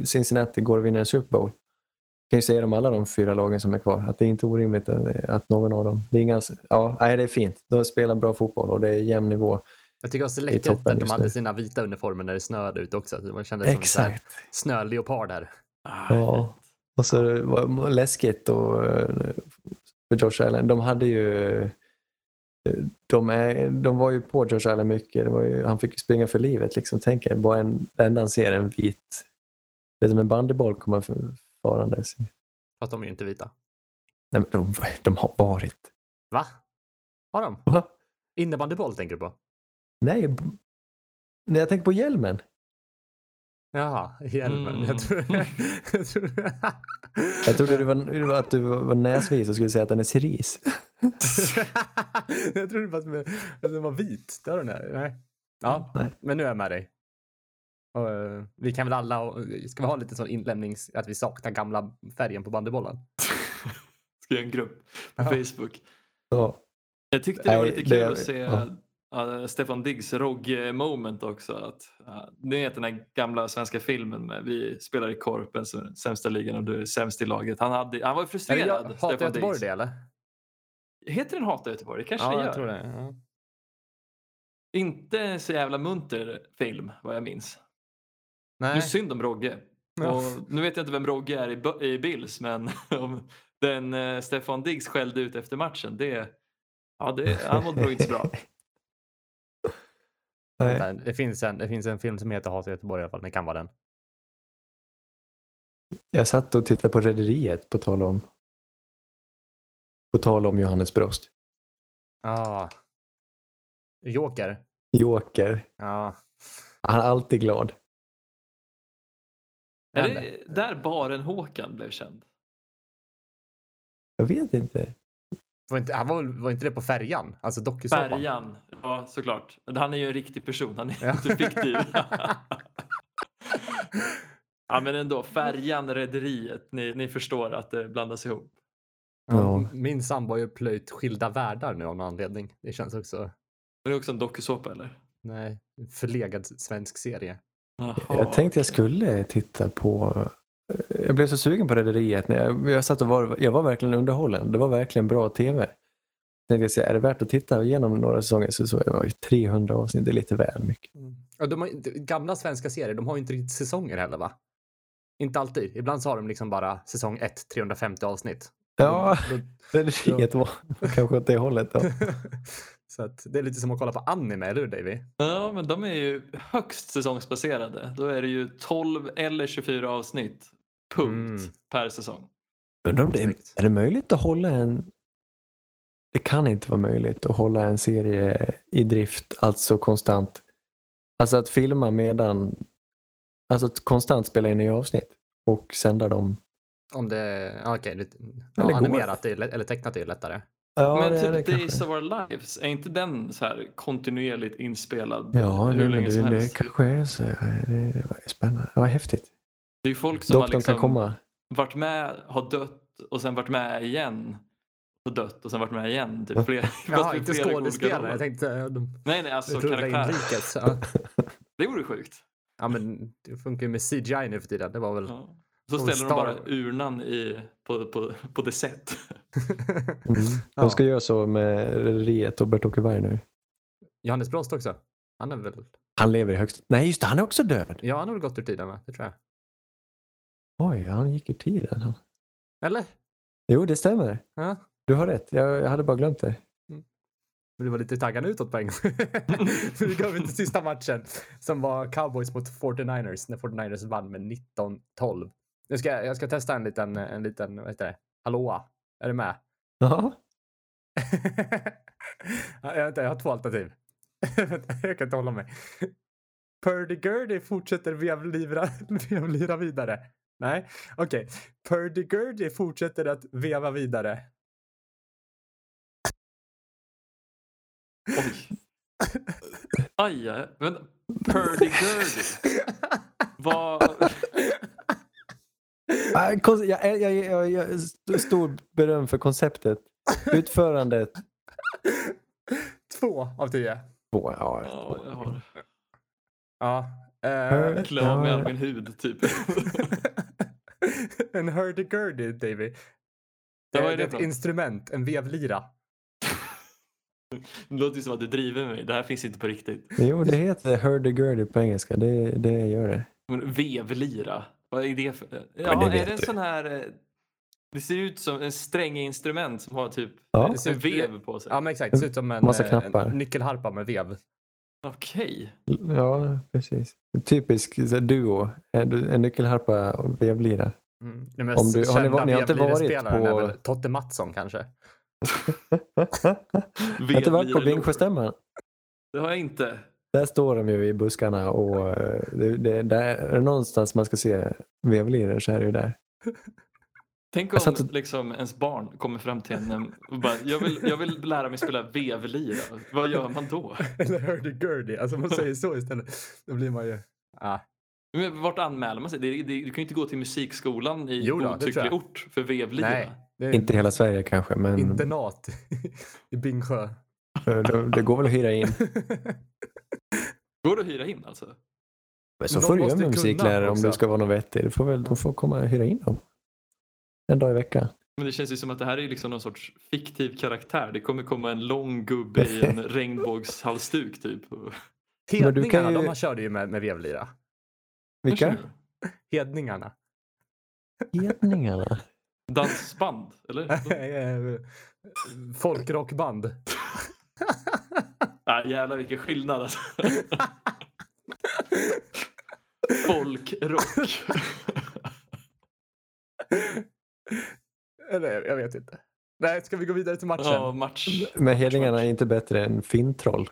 Cincinnati går och vinner en Super Bowl. Jag kan ju säga om alla de fyra lagen som är kvar att det är inte orimligt att, att någon av dem... Det är inga, ja, nej, det är fint. De spelar bra fotboll och det är jämn nivå.
Jag tycker det var så
är
läckert
toppen
att de
just
hade
nu.
sina vita uniformer när det snöade ute också. Det kändes som en sån här
Exakt.
snöleopard där.
Ah,
Ja. Och så var det läskigt och eh, för Josh Allen. De hade ju de, är, de var ju på George Allen mycket. Det var ju, han fick ju springa för livet. Liksom. Tänk er, bara en, det enda han ser är en vit... Det är som en bandyboll kommer f- farandes. Nej,
Fast de är ju inte vita.
men de, de har varit...
Va? Har de?
Va?
Innebandyboll tänker du på?
Nej, b- när jag tänker på hjälmen.
Jaha, hjälmen.
Mm.
Jag tror... (laughs) jag tror... (laughs)
Jag trodde det var, det var att du var var näsvis och skulle säga att den är cerise.
jag trodde bara att den- att den var vit. Det har den här. Nej. Ja,
Nej.
men nu är jag med dig. Och, eh, vi kan väl alla, ska vi ha lite sån inlämnings, att vi saknar gamla färgen på bandybollen?
Ska göra en grupp på
Ja.
Facebook.
Ja.
Jag tyckte det var
Nej,
lite
det-
kul att se
ja.
ja, Stefan Diggs Rogge-moment också. Att, ja, ni vet den här gamla svenska filmen med vi spelar i korpen, så- sämsta ligan och du är sämst i laget. Han, hade, han var ju
Eller
frustrerad.
jag, hatar
Stefan
Göteborg
Diggs.
det eller?
Heter den Hata Göteborg? Det kanske det gör.
det. Ja.
Inte så jävla munter film vad jag minns. Nu
Nej.
synd om Rogge.
Ja.
Och nu vet jag inte vem Rogge är i, Bo- i Bills men (laughs) om den eh, Stefan Diggs skällde ut efter matchen. Det, ja, det, han mådde nog inte
(laughs)
så bra.
Nej.
Vänta, Det finns, en, det finns en film som heter Hata Göteborg i alla fall, det kan vara den.
Jag satt och tittade på Rederiet på tal om på tal om Johannes Brost.
Ah. Joker.
Joker.
Ja.
Han är alltid glad.
Är
Den
det där baren Håkan blev känd?
Jag vet inte.
Var inte, han var, väl- var inte det på färjan? Alltså dokusåpan?
Färjan, ja såklart. Han är ju en riktig person, han är
(laughs) Ja.
inte fiktiv. (laughs)
typ.
ja men ändå, Färjan, Rederiet, ni, ni förstår att det blandas ihop.
Ja,
Ja.
Min sambo har ju plöjt skilda världar nu av någon anledning. Det känns också...
Men det är också en dokusåpa eller?
Nej, en förlegad svensk serie.
Jaha,
Jag tänkte jag skulle titta på... Jag blev så sugen på Rederiet. när Jag, jag, satt och var, jag var verkligen underhållen. Det var verkligen bra tv. Jag tänkte säga, är det värt att titta igenom några säsonger? Så, så, det var ju 300 avsnitt, det är lite väl mycket.
Ja, de har, inte- gamla svenska serier, de har ju inte riktigt säsonger heller va? Inte alltid. Ibland så har de liksom bara säsong 1, 350 avsnitt.
Ja,
Då-
(laughs) Rederiet var kanske åt det hållet. Då.
(laughs) så att det är lite som att kolla på anime, eller hur Davy?
Ja, men de är ju högst säsongsbaserade. Då är det ju 12 eller 24 avsnitt, punkt,
Mm.
per säsong.
Undrar om det är, är det möjligt att hålla en... Det kan inte vara möjligt att hålla en serie i drift, alltså konstant. Alltså att filma medan... Alltså att konstant spela in nya avsnitt och sända dem.
Om det, ja, okej, det,
Eller
ja,
går.
animerat är ju lätt- eller tecknat är ju lättare.
Ja,
men
det är det
typ Days
kanske.
of Our Lives, är inte den så här kontinuerligt inspelad
Ja,
hur
det,
länge
det,
som
det,
helst?
kanske är så. Det, det var spännande. Det var häftigt.
Det är ju folk som har
Doktorn
liksom
kan komma.
varit med, har dött och sen varit med igen och dött och sen varit med igen. Typ
(laughs)
fler, fast
Jaha,
med
inte
flera olika roller.
skådespelare. Jag tänkte eh, de
Nej, nej, alltså
jag trodde det var
karaktär.
inrikes.
(laughs)
Ja.
Det vore sjukt.
ja, men det funkar ju med CGI nu för tiden. Det var väl...
Ja. Så
Och
ställer de
Mm. Star-
bara urnan i, på, på, på det sätt.
Mm.
Ja.
De ska göra så med Rederiet och Bert-Åke Berg nu.
Johannes Brost också. Han är väl...
Han lever i högst... Nej, just det. Han är också död.
Ja, han har väl gått ur tiden, va? Det tror jag.
Oj, han gick ur tiden. han.
Eller?
Jo, det stämmer.
Ja.
Du har rätt. Jag, jag hade bara glömt det.
Men du var lite taggad utåt på en
(laughs)
gång. Nu går vi till sista matchen som var Cowboys mot 49ers när 49ers vann med 19-12. Nu ska jag, jag ska testa en liten, en liten, vad heter det? Hallåa. Är du med?
Ja.
(laughs) Ja, jag, vänta, jag har två alternativ. (laughs) Vänta, jag kan inte hålla mig. Purdy Gurdy fortsätter vevlira, (laughs) vevlira vidare. Nej, okej. Purdy Gurdy fortsätter att veva vidare.
(laughs) Oj. Aj, aj. Men Purdy-gurdy. Vad...
Ah, kon- Jag, jag, jag, jag, jag st- stor beröm för
(laughs)
konceptet. Utförandet.
Två av tio.
Två, ja.
Ja, jag har
Ja. eh,
Hur-
klä av mig all min hud typ.
(laughs)
(laughs)
en hurdy-gurdy, Davy.
Ja, vad är
Eh,
det
ett
för något?
instrument, en vevlira.
Det låter ju som att du driver mig. Det här finns inte på riktigt.
Jo, det heter hurdy-gurdy på engelska. Det, det gör det.
Men vevlira. Vad är det för... eh,
Men
Ja,
det
är
vet
det en
du.
sån här... eh, Det ser ut som en stränginstrument som har typ
Ja.
ser
en
ut-
vev på sig.
Ja, men exakt. Det ser ut som en,
Massa
eh,
knappar.
en nyckelharpa med vev.
Okej.
Ja, precis. Typisk så här, duo. En en nyckelharpa och vevlira.
Mm. Den mest
Om du- har ni-
kända
ni har inte varit
vevlirespelaren är
på-
väl Totte Mattsson kanske?
Jag har inte varit på
Vedlirelor.
Bingsjöstämman.
Det har jag inte.
Där står de ju i buskarna och eh, det, det, där, är det någonstans man ska se vevliror så är det ju där.
Tänk om
Jag satt och-
liksom, ens barn kommer fram till en och bara, jag vill, jag vill lära mig spela vevlira.
(laughs)
Vad gör man då?
Eller hurdy-gurdy. Alltså man säger så istället. Då blir man ju... Ah.
Men vart anmäler man sig? Det, det, du kan ju inte gå till musikskolan i
Jo då, det tror
godtycklig
jag.
ort för vevlira.
Nej, det
Mm.
är
Inte hela Sverige kanske, men
internat i Bingsjö. (laughs)
eh, (laughs) det, det går väl att hyra in.
Går det att hyra in alltså?
Men så
Men de
får du
måste
göra med
kunna
musiklärare om
också.
du ska vara någon vettig. Du får väl, de får komma och hyra in dem. En dag i veckan.
Men det känns ju som att det här är liksom någon sorts fiktiv karaktär. Det kommer komma en lång gubbe i
(laughs)
en regnbågshalsduk typ. Och-
Men du kan
Hedningarna,
ju-
de körde ju med, med vevlira.
Vilka?
Hedningarna. (laughs)
Hedningarna.
(laughs) Dansband,
(laughs)
eller?
Folkrockband.
ah, jävlar vilken
(laughs)
skillnad alltså. Folkrock.
Eller jag vet inte. Nej, ska vi gå vidare till matchen?
Ja, match.
Men hedningarna är inte bättre än fintroll.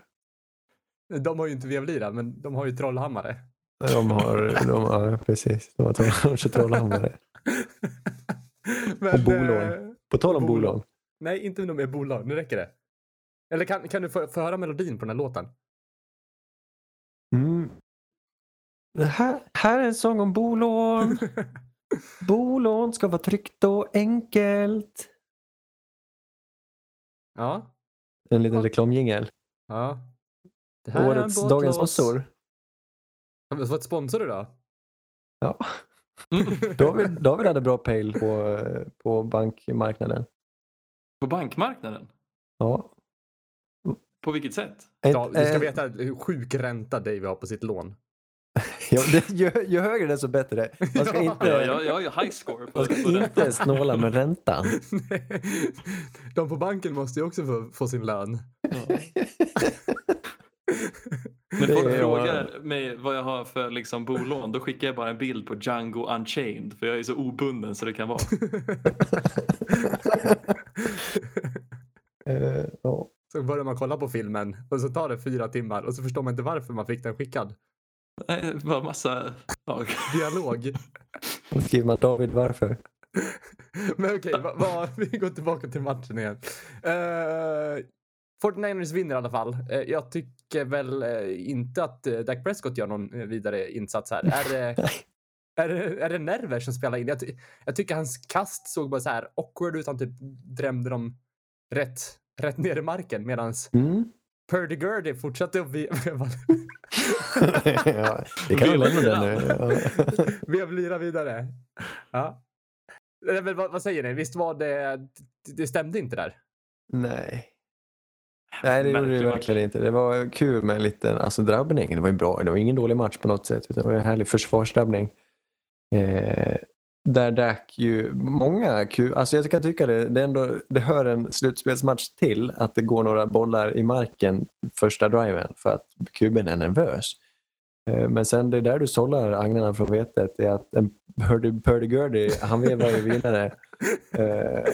De har ju inte vevlira, men de har ju trollhammare.
De har, de, ja, precis. De har troll- trollhammare.
Men,
Och bolån.
eh,
På tal om
Bolån.
bolån.
Nej, inte med mer bolag. Nu räcker det. Eller kan, kan du få, få höra melodin på den här låten?
Mm. Det här, här är en sång om bolån. Bolån ska vara tryggt och enkelt.
Ja.
En liten reklamjingel.
ja. Det här är en
Årets Dagens
båtlås.
Mossor.
Har vi fått sponsor idag?
Ja. David, David hade bra pejl på, på bankmarknaden.
På bankmarknaden?
Ja.
På vilket sätt?
Ett,
Ja, du ska
eh, (laughs)
veta hur sjuk ränta Dave har på sitt lån.
Ja, det, ju, ju högre desto bättre. Man ska
(laughs) Ja.
Ja,
inte,
jag, jag har ju high score på,
man
på
ska
det.
inte snåla med räntan.
(laughs) De på banken måste ju också få, få sin lön.
När
Det
folk
är-
frågar mig vad jag har för liksom, bolån då skickar jag bara en bild på Django Unchained för jag är så obunden så det kan vara. (laughs)
Eh, ja.
Så börjar man kolla på filmen och så tar det fyra timmar och så förstår man inte varför man fick den skickad.
Nej, bara massa... Ja.
Dialog.
Då skriver man David varför.
Men okej, va, va, (laughs) vi går tillbaka till matchen igen. Uh, 49ers vinner i alla fall. Eh, jag tycker väl eh, inte att eh, Dak Prescott gör någon eh, vidare insats här. Är det, är det, är det nerver som spelar in? Jag, ty- jag tycker hans kast såg bara så här awkward ut. Han typ drämde dem rätt, rätt ner i marken medan
Mm. (laughs)
Purdy Gurdy fortsatte att (laughs) ve- veva-
ja, det kan vi lämna den nu. Ja.
vevlira vidare. Ja. Nej, men vad, vad säger ni? Visst var det... Det stämde inte där?
Nej. Nej, Äh, det gjorde det
Märklig
ju
match.
verkligen inte. Det var kul med en liten alltså, drabbning. Det var ju bra. Det var ingen dålig match på något sätt. Utan det var en härlig försvarsdrabbning. Eh, där Dak ju många kul... Alltså jag kan tycka det, det, är ändå, det hör en slutspelsmatch till att det går några bollar i marken första driven för att kuben är nervös. Eh, Men sen det är där du sållar agnarna från vetet är att en Purdy- Purdy Gurdy, han vevar ju vidare. Eh,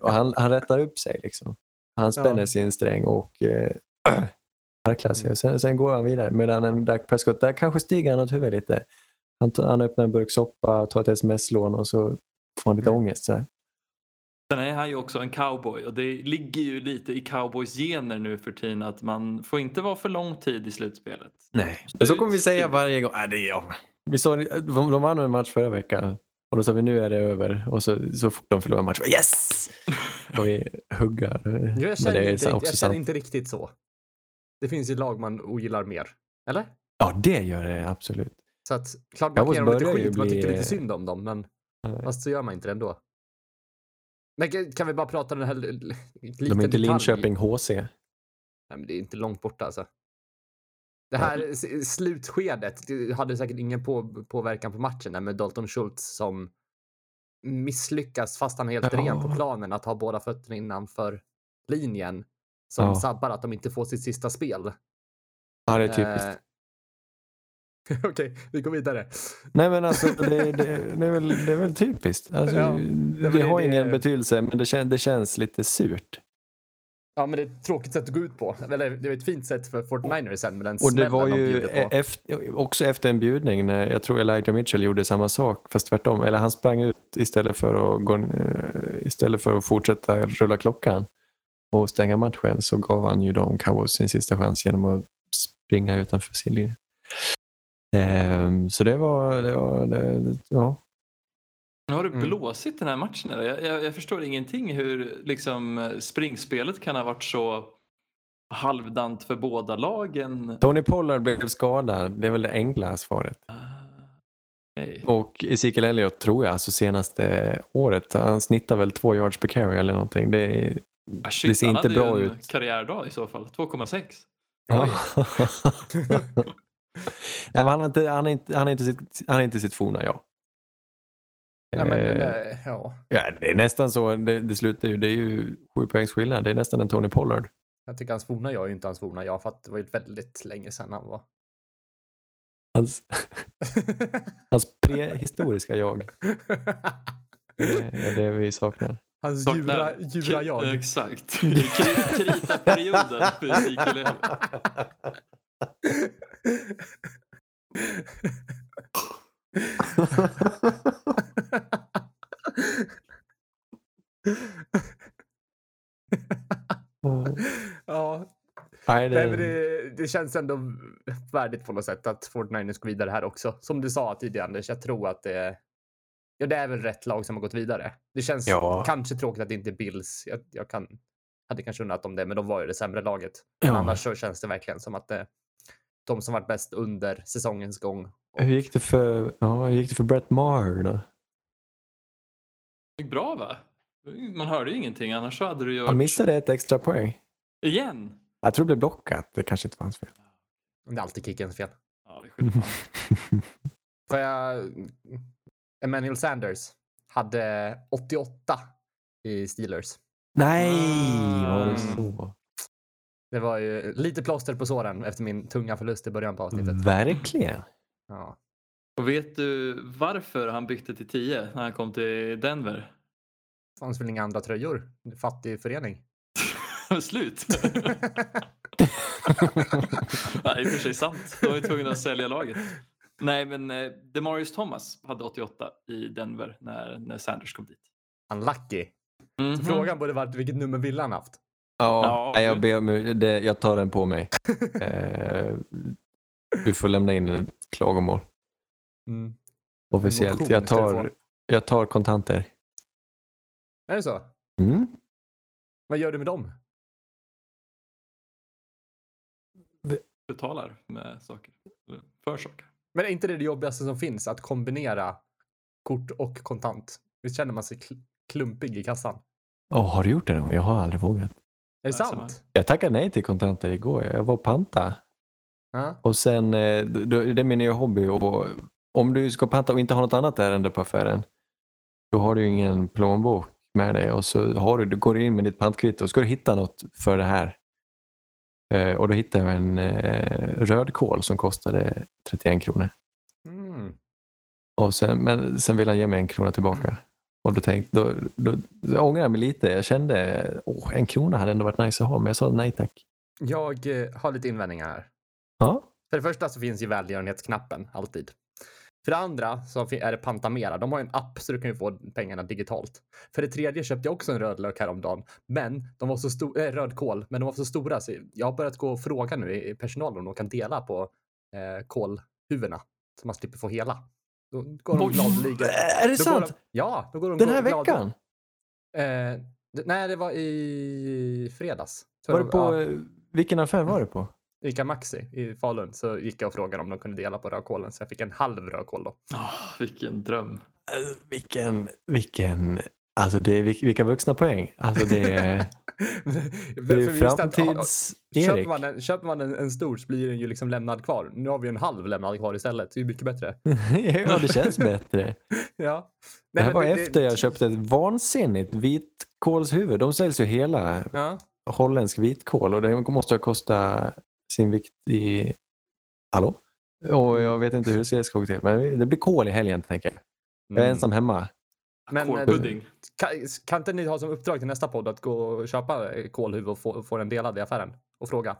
och han, han rättar upp sig liksom. Han spänner
Ja.
sin sträng och eh, (clears throat) harklar sig. Och Sen, sen går han vidare. Medan en Dak Prescott, där kanske stiger han åt huvudet lite. Han, tar- han öppnar en burk soppa, tar ett sms-lån och så får han lite ångest. Så här.
Sen är han ju också en cowboy och det ligger ju lite i cowboys gener nu för tiden att man får inte vara för lång tid i slutspelet. Typ,
Nej. Så kommer vi säga varje gång. Äh, det är jag. Vi sa, de, de vann en match förra veckan och då sa vi nu är det över. Och så, så fort de förlorar en match,
(laughs)
yes! Och vi huggar.
Jag känner,
är
inte,
så-
riktigt-
också
jag känner
sant.
inte riktigt så. Det finns ju lag man ogillar mer. Eller?
Ja, det gör det absolut.
Så att klart man kan
Cowboys
ge dem lite
börjar ju
skit. Man tycker
bli-
lite synd om dem. Men
Nej.
fast så gör man inte det ändå. Men kan- kan vi bara prata om den här l- l- liten
De är inte
detalj?
Linköping HC.
Nej, men det är inte långt borta alltså. Det här s- slutskedet det hade säkert ingen på, påverkan på matchen där med Dalton Schultz som misslyckas fast han är helt
Ja.
ren på planen att ha båda fötterna innanför linjen som
Ja.
sabbar att de inte får sitt sista spel.
Ja, det är typiskt.
Eh, (laughs) Okej, vi går vidare.
Nej, men alltså, det, det, det, är väl, det är väl typiskt. Alltså,
Ja,
det,
men det-
har
det-
ingen betydelse, men det, kän, det känns lite surt.
Ja, men det är ett tråkigt sätt att gå ut på. Eller det är ett fint sätt för 49ers sen, men den
Och det
smällen
var
de
ju e-
bjuder (laughs) på.
eft- också efter en bjudning när jag tror Elijah Mitchell gjorde samma sak, fast tvärtom. Eller han sprang ut istället för att, gå, eh, istället för att fortsätta rulla klockan och stänga matchen så gav han ju dem Cowboys sin sista chans genom att springa utanför sin linje. Ehm, så det var... Det var det, det, ja.
Nu har du
Mm.
blåsit den här matchen. eller? Jag, jag, jag förstår ingenting hur liksom, eh, springspelet kan ha varit så halvdant för båda lagen.
Tony Pollard blev skadad, det är väl det enkla svaret.
Ah, nej.
Och Ezekiel Elliott tror jag, alltså senaste året, han snittar väl två yards per carry eller någonting. Det är,
Ah, shit,
det ser
han
inte
hade ju
bra
en
ut.
karriärdag i så fall. 2,6.
Ja. (laughs) Nej, men han, har inte, han, är inte, han, är inte sitt, han är inte sitt forna jag.
Ja, men,
Eh,
eh, ja,
ja, det är nästan så. Det, det slutar ju. Det är ju sju poängs skillnad. Det är nästan en Tony Pollard.
jag tycker hans forna jag är ju inte hans forna jag, för att det var ju väldigt länge sedan han var.
Hans, hans prehistoriska jag eh, är det
(laughs)
vi saknar.
hans
Saknar- eh.
djura, djura
K-
jag.
Exakt. (laughs) Kri- Krita-perioden för Ezekiel Elliott.
(laughs) ja,
Nej,
nej, men
det,
det, det känns ändå värdigt på något sätt att 49ers går vidare här också. Som du sa tidigare Anders, jag tror att det, ja, det är väl rätt lag som har gått vidare. Det känns
Ja.
kanske tråkigt att det inte är Bills. Jag, jag kan, hade kanske undrat om det, men de var ju det sämre laget. Men
ja.
annars så känns det verkligen som att eh, de som varit bäst under säsongens gång.
Hur gick det för, ja, hur gick det för Brett Maher då?
Det gick Bra va? Man hörde ju ingenting annars så hade du ju...
Han missade ett extra poäng.
Igen?
Jag tror det blev blockat. Det kanske inte var hans fel.
Det är alltid kickens fel.
Ja, det är skit.
Får jag... mm, Emmanuel Sanders hade 88 i Steelers.
Nej!
Ah.
Mm.
Var det så?
Det var ju lite plåster på såren efter min tunga förlust i början på avsnittet.
Mm. Verkligen.
Ja.
Och vet du varför han bytte till 10 när han kom till Denver? (laughs)
Det fanns väl inga andra tröjor? Fattig förening.
Slut. Nej, i och för sig sant. De var ju tvungna att sälja laget. Nej, men eh, Demarius Thomas hade 88 i Denver när, när Sanders kom dit.
Unlucky.
Mhm.
Så Frågan borde varit vilket nummer ville han haft?
Ja,
Ja.
jag, ber, om ur- det, jag tar den på mig. Eh, du får lämna in ett klagomål
Mm.
officiellt.
Motion
Jag
ska
tar,
du få.
jag tar kontanter.
Är det så?
Mm.
Vad gör du med dem?
Betalar med saker. Eller För saker.
Men är inte det det jobbigaste som finns? Att kombinera kort och kontant. Visst känner man sig kl- klumpig i kassan?
Åh, har du gjort det någon gång? Jag har aldrig vågat.
Är det
Ja, samma.
sant?
Jag tackade nej till kontanter igår. Jag var och panta.
Ja.
Och sen, eh, d- d- det är min nya hobby. Och om du ska panta och inte har något annat ärende på affären, då har du ju ingen plånbok med dig. Och så har du, du går du in med ditt pantkvitto och ska du hitta något för det här. Eh, Och då hittade jag en eh, rödkål som kostade 31 kronor.
Mm.
Och sen, men sen ville han ge mig en krona tillbaka. Och då tänkte då, då, då ångrade jag mig lite. Jag kände, åh, en krona hade ändå varit nice att ha, men jag sa nej tack.
Jag eh, har lite invändningar här.
Ja,
För det första så finns ju välgörenhetsknappen alltid. För det andra så fi- är det Pantamera. De har ju en app så du kan ju få pengarna digitalt. För det tredje köpte jag också en rödlök häromdagen. Men de var så stora, äh, rödkål, men de var så stora så jag har börjat gå och fråga nu i i personalen om de kan dela på eh, kålhuvudena. Så man slipper få hela. Då går de
Oj.
gladeligen. Då
är det
går
sant?
de, ja, då går de
Den här
glada-
veckan?
Eh, d- nej, det var i fredags. Så
Var det på,
ja,
eh, vilken affär var det på?
Ica Maxi i Falun så gick jag och frågade om de kunde dela på rödkålen så jag fick en halv rödkål då.
Oh, vilken dröm.
Alltså, Vilken, vilken Alltså det är, vil- vilka vuxna poäng. Alltså det (laughs) är,
(laughs)
det är
Köper
framtids-Erik.
man, en, köper man en, en stor så blir den ju liksom lämnad kvar. Nu har vi en halv lämnad kvar istället. Det är ju mycket bättre.
(laughs)
(laughs)
ja, det känns bättre.
Ja.
Det
Nej,
här
men
var
det- det-
efter jag köpte ett vansinnigt vitkålshuvud. De säljs ju hela
Ja.
holländsk vitkål och det måste ha kostat sin vikt i... Hallå? Och jag vet inte hur det ska skog till, men det blir kål i helgen tänker jag. Jag är
Mm.
ensam hemma.
Men, eh,
Kålpudding.
Kan, kan inte ni ha som uppdrag till nästa podd att gå och köpa eh, kålhuvud och få, få den delad i affären? Och fråga.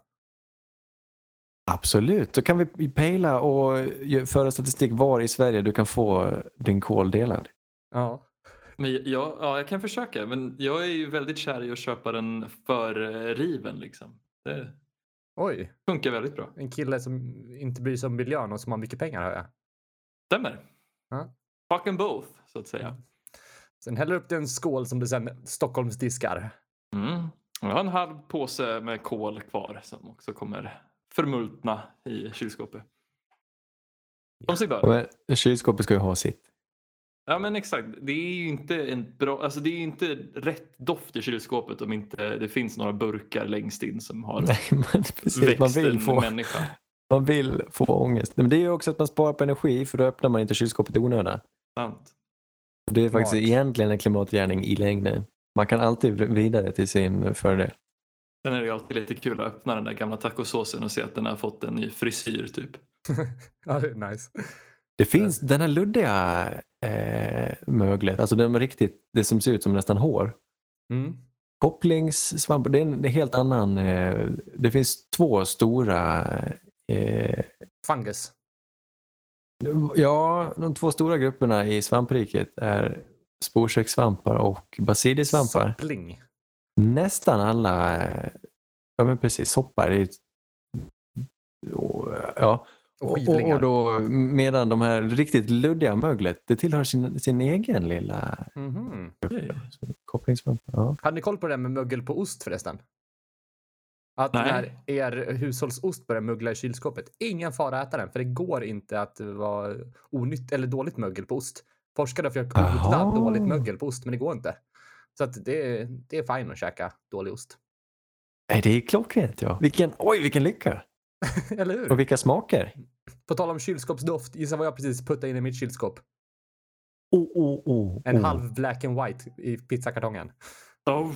Absolut, då kan vi pejla och gö- föra statistik var i Sverige du kan få eh, din kål delad.
Ja.
Men jag, ja, jag kan försöka, men jag är ju väldigt kär i att köpa den för eh, riven. Liksom. Det
Oj,
funkar väldigt bra.
en kille som inte bryr sig om miljön och som har mycket pengar hör jag.
Stämmer.
Ja.
Fuck and both, så att säga.
Sen häller upp det i en skål som du sen Stockholmsdiskar.
Mm. Jag har en halv påse med kol kvar som också kommer förmultna i kylskåpet. Som sig bör.
Men eh, kylskåpet ska ju ha sitt.
Ja men exakt. Det är ju inte en bra, alltså det är ju inte rätt doft i kylskåpet om inte det finns några burkar längst in som har
(laughs) Nej, men precis, man
växt
vill
en
få...
människa.
Man vill få ångest. Men det är ju också att man sparar på energi för då öppnar man inte kylskåpet i onödan.
Sant.
Det är faktiskt
Smart.
egentligen en klimatgärning i längden. Man kan alltid vr- vrida det till sin fördel.
Sen är det ju alltid lite kul att öppna den där gamla tacosåsen och se att den har fått en ny frisyr typ.
(laughs) Ja, det är nice.
Det finns den här luddiga eh, möglet, alltså de riktigt, det som ser ut som nästan hår.
Mm.
Kopplingssvamp, det är en det är helt annan. Eh, det finns två stora eh,
Fungus.
Ja, de två stora grupperna i svampriket är sporsäckssvampar och basiliesvampar.
Sappling.
Nästan alla, eh, ja men precis, soppar. är ju- och, eh, Ja.
Och
Och, och,
skivlingar.
och då, medan de här riktigt luddiga möglet, det tillhör sin, sin egen lilla
Mhm.
kopplingsvamp. Ja.
Hade ni koll på det där med mögel på ost förresten? Att
Nej.
när er hushållsost börjar mögla i kylskåpet, ingen fara att äta den för det går inte att vara onytt eller dåligt mögel på ost. Forskare har försökt odla
Aha.
dåligt mögel på ost, men det går inte. Så att det, är- det är fine att käka dålig ost. (laughs)
Nej, det är klockrent. Ja. Vilken, oj, vilken lycka!
eller
Och
hur?
vilka smaker!
På tal om kylskåpsdoft, gissa vad jag precis puttade in i mitt kylskåp?
Oh, oh, oh,
En
oh.
halv black and white i pizzakartongen.
Oh.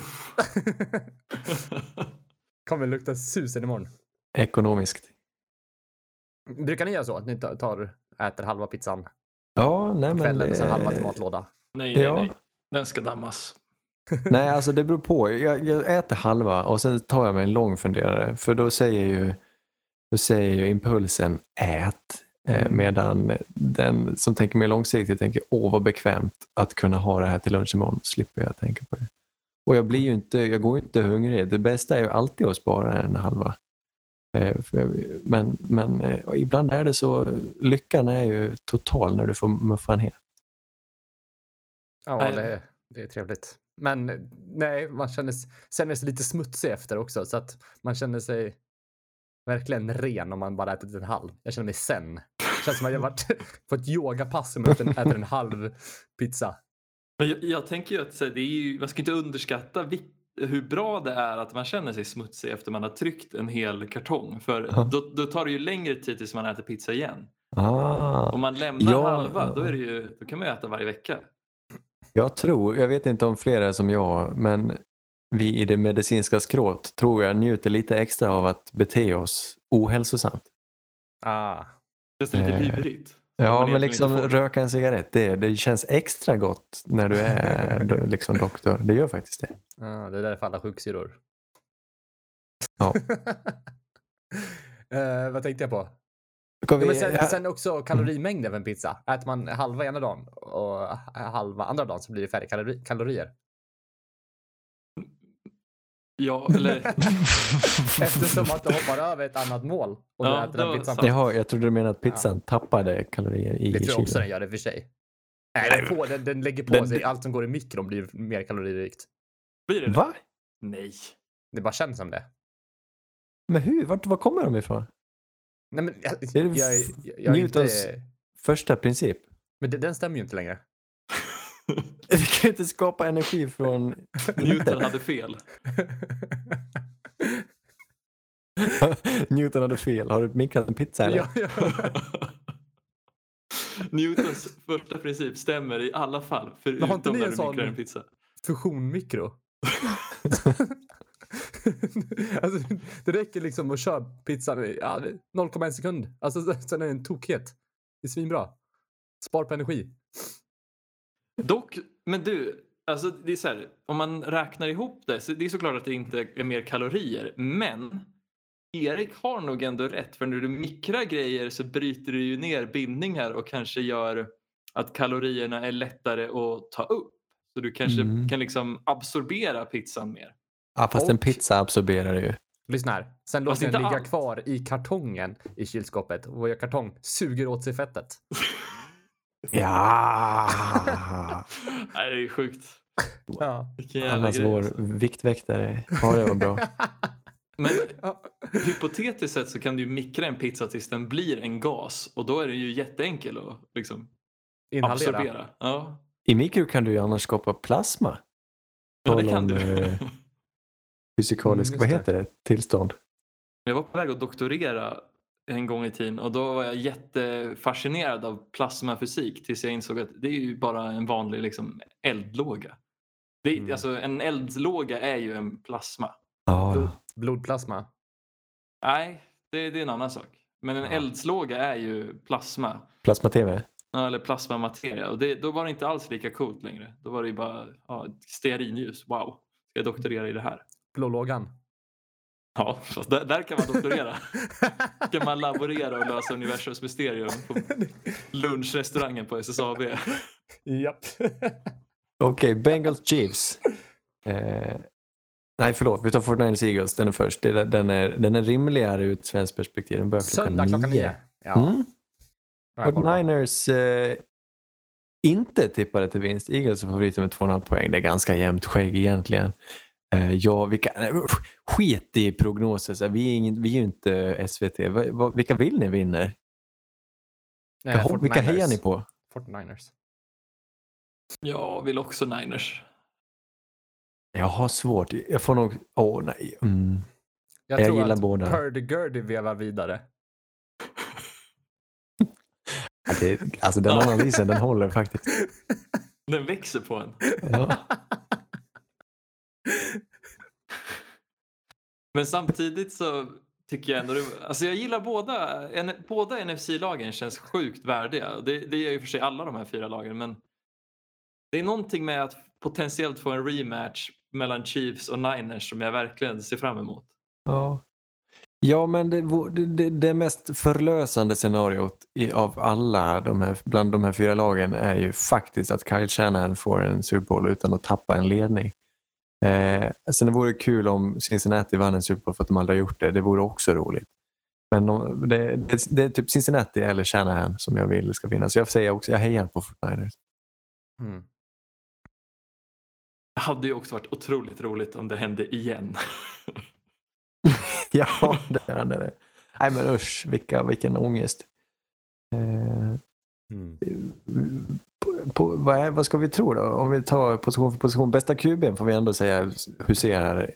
(laughs) Kommer lukta susen imorgon.
Ekonomiskt.
Brukar ni göra så? Att ni tar- tar, äter halva pizzan
Ja, nej
på
men...
kvällen och sen
det-
halva till matlåda?
nej, nej,
Ja.
nej. Den ska dammas.
Nej, alltså det beror på. Jag, jag äter halva och sen tar jag mig en lång funderare. För då säger ju, då säger ju impulsen ät.
Mm.
Eh, medan den som tänker mer långsiktigt tänker åh vad bekvämt att kunna ha det här till lunch imorgon. Slipper jag tänka på det. Och jag, blir ju inte, jag går ju inte hungrig. Det bästa är ju alltid att spara en halva. Eh, för jag, men men eh, och ibland är det så. Lyckan är ju total när du får muffan helt.
Ja,
Nej.
det, det är trevligt. Men nej, man känner, s- känner sig lite smutsig efter också. Så att man känner sig verkligen ren om man bara ätit en halv. Jag känner mig sen. Det känns som att jag varit (laughs) på ett yogapass och äter, äter en halv pizza.
Men jag, jag tänker ju att så här, det är ju, man ska inte underskatta vik- hur bra det är att man känner sig smutsig efter man har tryckt en hel kartong. För
Ja.
då, då tar det ju längre tid tills man äter pizza igen.
Ah.
Om man lämnar
Ja.
halva då, är det ju, då kan man ju äta varje vecka.
Jag tror, jag vet inte om fler är som jag, men vi i det medicinska skrået tror jag njuter lite extra av att bete oss ohälsosamt.
Ah.
Det är lite
Eh,
vidrigt.
Ja,
man
men
egentligen
liksom
inte får.
röka en cigarett, det, det känns extra gott när du (laughs) är do- liksom doktor. Det gör faktiskt det.
ah det är därför alla sjuksyrror.
Ja.
(laughs) eh, vad tänkte jag på?
Ska
Ja,
vi,
men sen, sen också kalorimängden av en pizza. Äter man halva ena dagen och halva andra dagen så blir det färre kalori-
(laughs)
kalorier.
Ja, eller,
Eftersom att du hoppar över ett annat mål och du
Ja,
äter den
då-
pizzan.
sant.
Jaha, jag trodde du menade att pizzan tappade kalorier i
Det tror jag också
kylen.
den gör i och för sig. Nej, den, får, den, den lägger på
Den-
sig. Allt som går i mikron blir mer kaloririkt.
blir det det?
Va?
Nej.
Det bara känns som det.
Men hur? Vart, var kommer de ifrån?
Nej, men jag,
det
jag, jag, jag är
Newtons-
inte...
Första princip.
Men det, den stämmer ju inte längre.
(laughs) Vi kan ju inte skapa energi från... (laughs)
Newton hade fel.
(laughs) Newton hade fel. Har du mikrat en pizza
(laughs)
eller?
ja, ja.
Newtons första princip stämmer i alla fall.
Men har inte
Förutom
ni
när
en
du
sån-
mikrar en pizza.
Fusionmikro. (laughs) alltså, det räcker liksom att köra pizzan i ja, 0,1 sekund. Alltså, (laughs) sen- sen är det en tokhet. Det är svinbra. Spar på energi.
Dock, men du, alltså det är så här, om man räknar ihop det, så det är såklart att det inte är mer kalorier, men Erik har nog ändå rätt för när du mikrar grejer så bryter du ju ner bindningar och kanske gör att kalorierna är lättare att ta upp. Så du kanske
Mm.
kan liksom absorbera pizzan mer. (laughs)
Ja, fast en pizza absorberar ju.
Lyssna här. Sen
Fast
låter den
inte
ligga
allt.
kvar i kartongen i kylskåpet. Och vad gör kartong? Suger åt sig fettet.
(laughs) Ja!
Nej, det är sjukt.
Ja.
Vilken jävla
Allas
grej,
vår
alltså.
viktväktare. Ja, det var bra.
Men
(laughs) Ja.
hypotetiskt sett så kan du ju mikra en pizza tills den blir en gas och då är den ju jätteenkel att liksom
Inhalera.
absorbera. Ja.
I mikro kan du ju annars skapa plasma.
Ja,
Tal
det kan
om,
du. Mm,
eh, Fysikalisk,
Mm,
vad
just
heter det? Tillstånd.
(laughs) Jag var på väg att doktorera en gång i tiden och då var jag jättefascinerad av plasmafysik tills jag insåg att det är ju bara en vanlig liksom, eldlåga. Det är,
Mm.
alltså, en eldlåga är ju en plasma.
Ja,
Blod- Blodplasma.
Nej, det, det är en annan sak. Men en
Ja.
eldslåga är ju plasma
Plasma-tv.
ja, eller plasmamateria och det, då var det inte alls lika coolt längre. Då var det ju bara ja, stearinljus. Wow, ska jag doktorera i det här?
Blålågan.
Ja, fast där, där kan man (laughs) doktorera. kan man laborera och lösa universums mysterium på lunchrestaurangen på SSAB.
(laughs) Japp.
Okej, Bengals Chiefs. Eh, nej, förlåt. Vi tar 49ers Eagles. Den är först. Det- Den är, den är rimligare ur ett svenskt perspektiv. Den börjar klockan
Söndag klockan nio. Ja.
Mm.
har jag koll på.
49ers eh, inte tippade till vinst. Eagles är favoriter med 2,5 poäng. Det är ganska jämnt skägg egentligen. Eh, ja, vilka, nej, usch, skit i prognoser. Så här, vi, är ingen, vi är ju inte SVT. Va, va, vilka vill ni vinner?
Nej,
Jaha, vilka
49ers.
hejar ni på?
49ers.
Jag vill också Niners.
Jag har svårt. Jag får nog... Åh, nej. Mm.
Jag,
Jag
tror
gillar
att
båda.
Hurdy-Gurdy vevar vidare.
Ja, Det, alltså den analysen, den håller faktiskt.
Den växer på en.
Ja.
Men samtidigt så tycker jag ändå... det- Alltså jag gillar båda. En, båda NFC-lagen känns sjukt värdiga. Det, det gör ju för sig alla de här fyra lagen. Men det är någonting med att potentiellt få en rematch mellan Chiefs och Niners som jag verkligen ser fram emot.
Ja. Ja, men det, vore- det- det, det mest förlösande scenariot i, av alla de här, bland de här fyra lagen är ju faktiskt att Kyle Shanahan får en Super Bowl utan att tappa en ledning. Eh, sen det vore kul om Cincinnati vann en Super Bowl för att de aldrig har gjort det. Det vore också roligt. Men de, det, det, det är typ Cincinnati eller Shanahan som jag vill ska finnas. Så jag säger också, jag hejar på 49ers.
Mm.
Det hade ju också varit otroligt roligt om det hände igen.
(laughs)
(laughs)
Ja, det är det. Nej men usch, vilka, vilken ångest. Eh, på, på, vad, är, vad ska vi tro då? Om vi tar position för position. Bästa kuben får vi ändå säga huserar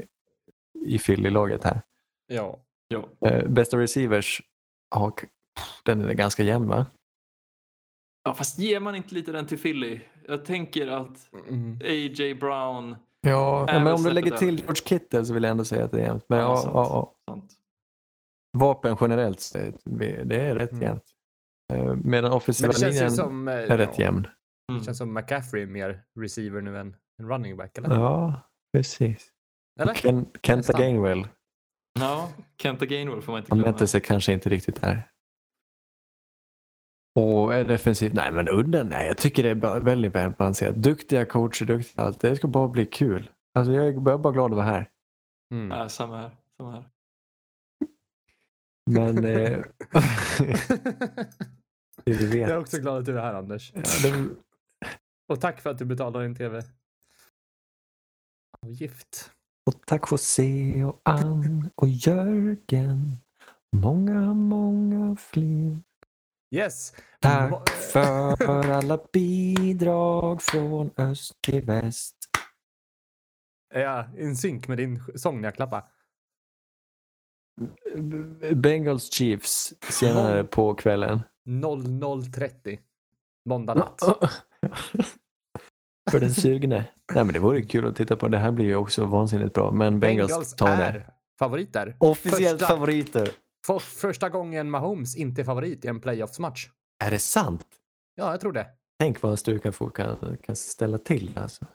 i Philly-laget här.
Ja.
ja.
Eh, bästa receivers, ja, k- den är ganska jämn va?
ja, fast ger man inte lite den till Philly? Jag tänker att
Mm.
A.J. Brown
Ja, men
men
om du
snäppet
lägger till
över.
George Kittle så vill jag ändå säga att det är jämnt. Men
Ja,
ja, ja,
sant.
ja,
sånt.
vapen generellt, det det är rätt
Mm.
jämnt. Eh, medan
Men
offensiva
det känns ju
linjen
som... eh,
är rätt jämn.
Mm.
Det känns som McCaffrey är mer receiver nu än en running back, eller?
Ja, precis.
eller?
Ken, Kenta
Nästan.
Gainwell,
Ja, Kenta Gainwell får man inte
han
glömma.
mätte sig kanske inte riktigt där. Och är defensivt? Nej, men udden? Nej, jag tycker det är bara väldigt välbalanserat. Duktiga coacher, duktiga allt. Det ska bara bli kul. Alltså, jag är bara bara glad att vara här.
Mm.
Ja, Äh, samma här. Samma här.
Men eh, du vet.
(laughs) Jag är också glad att du är här, Anders.
Ja, det,
Och tack för att du betalar din tv-avgift.
och tack för se och Ann och Jörgen. Många, många fler.
Yes.
Tack för alla bidrag från öst till väst.
Är jag in synk med din sång när jag klappar?
B- Bengals Chiefs senare på kvällen.
00.30. Måndag natt.
(laughs) för den sugne. Nej, men det vore kul att titta på. Det här blir ju också vansinnigt bra. Men Bengals, tar det.
är favoriter.
Officiellt
första.
favoriter.
För första gången Mahomes inte är favorit i en playoffsmatch.
Är det sant?
Ja, jag tror det.
Tänk vad en stukafot kan, kan ställa till. Alltså.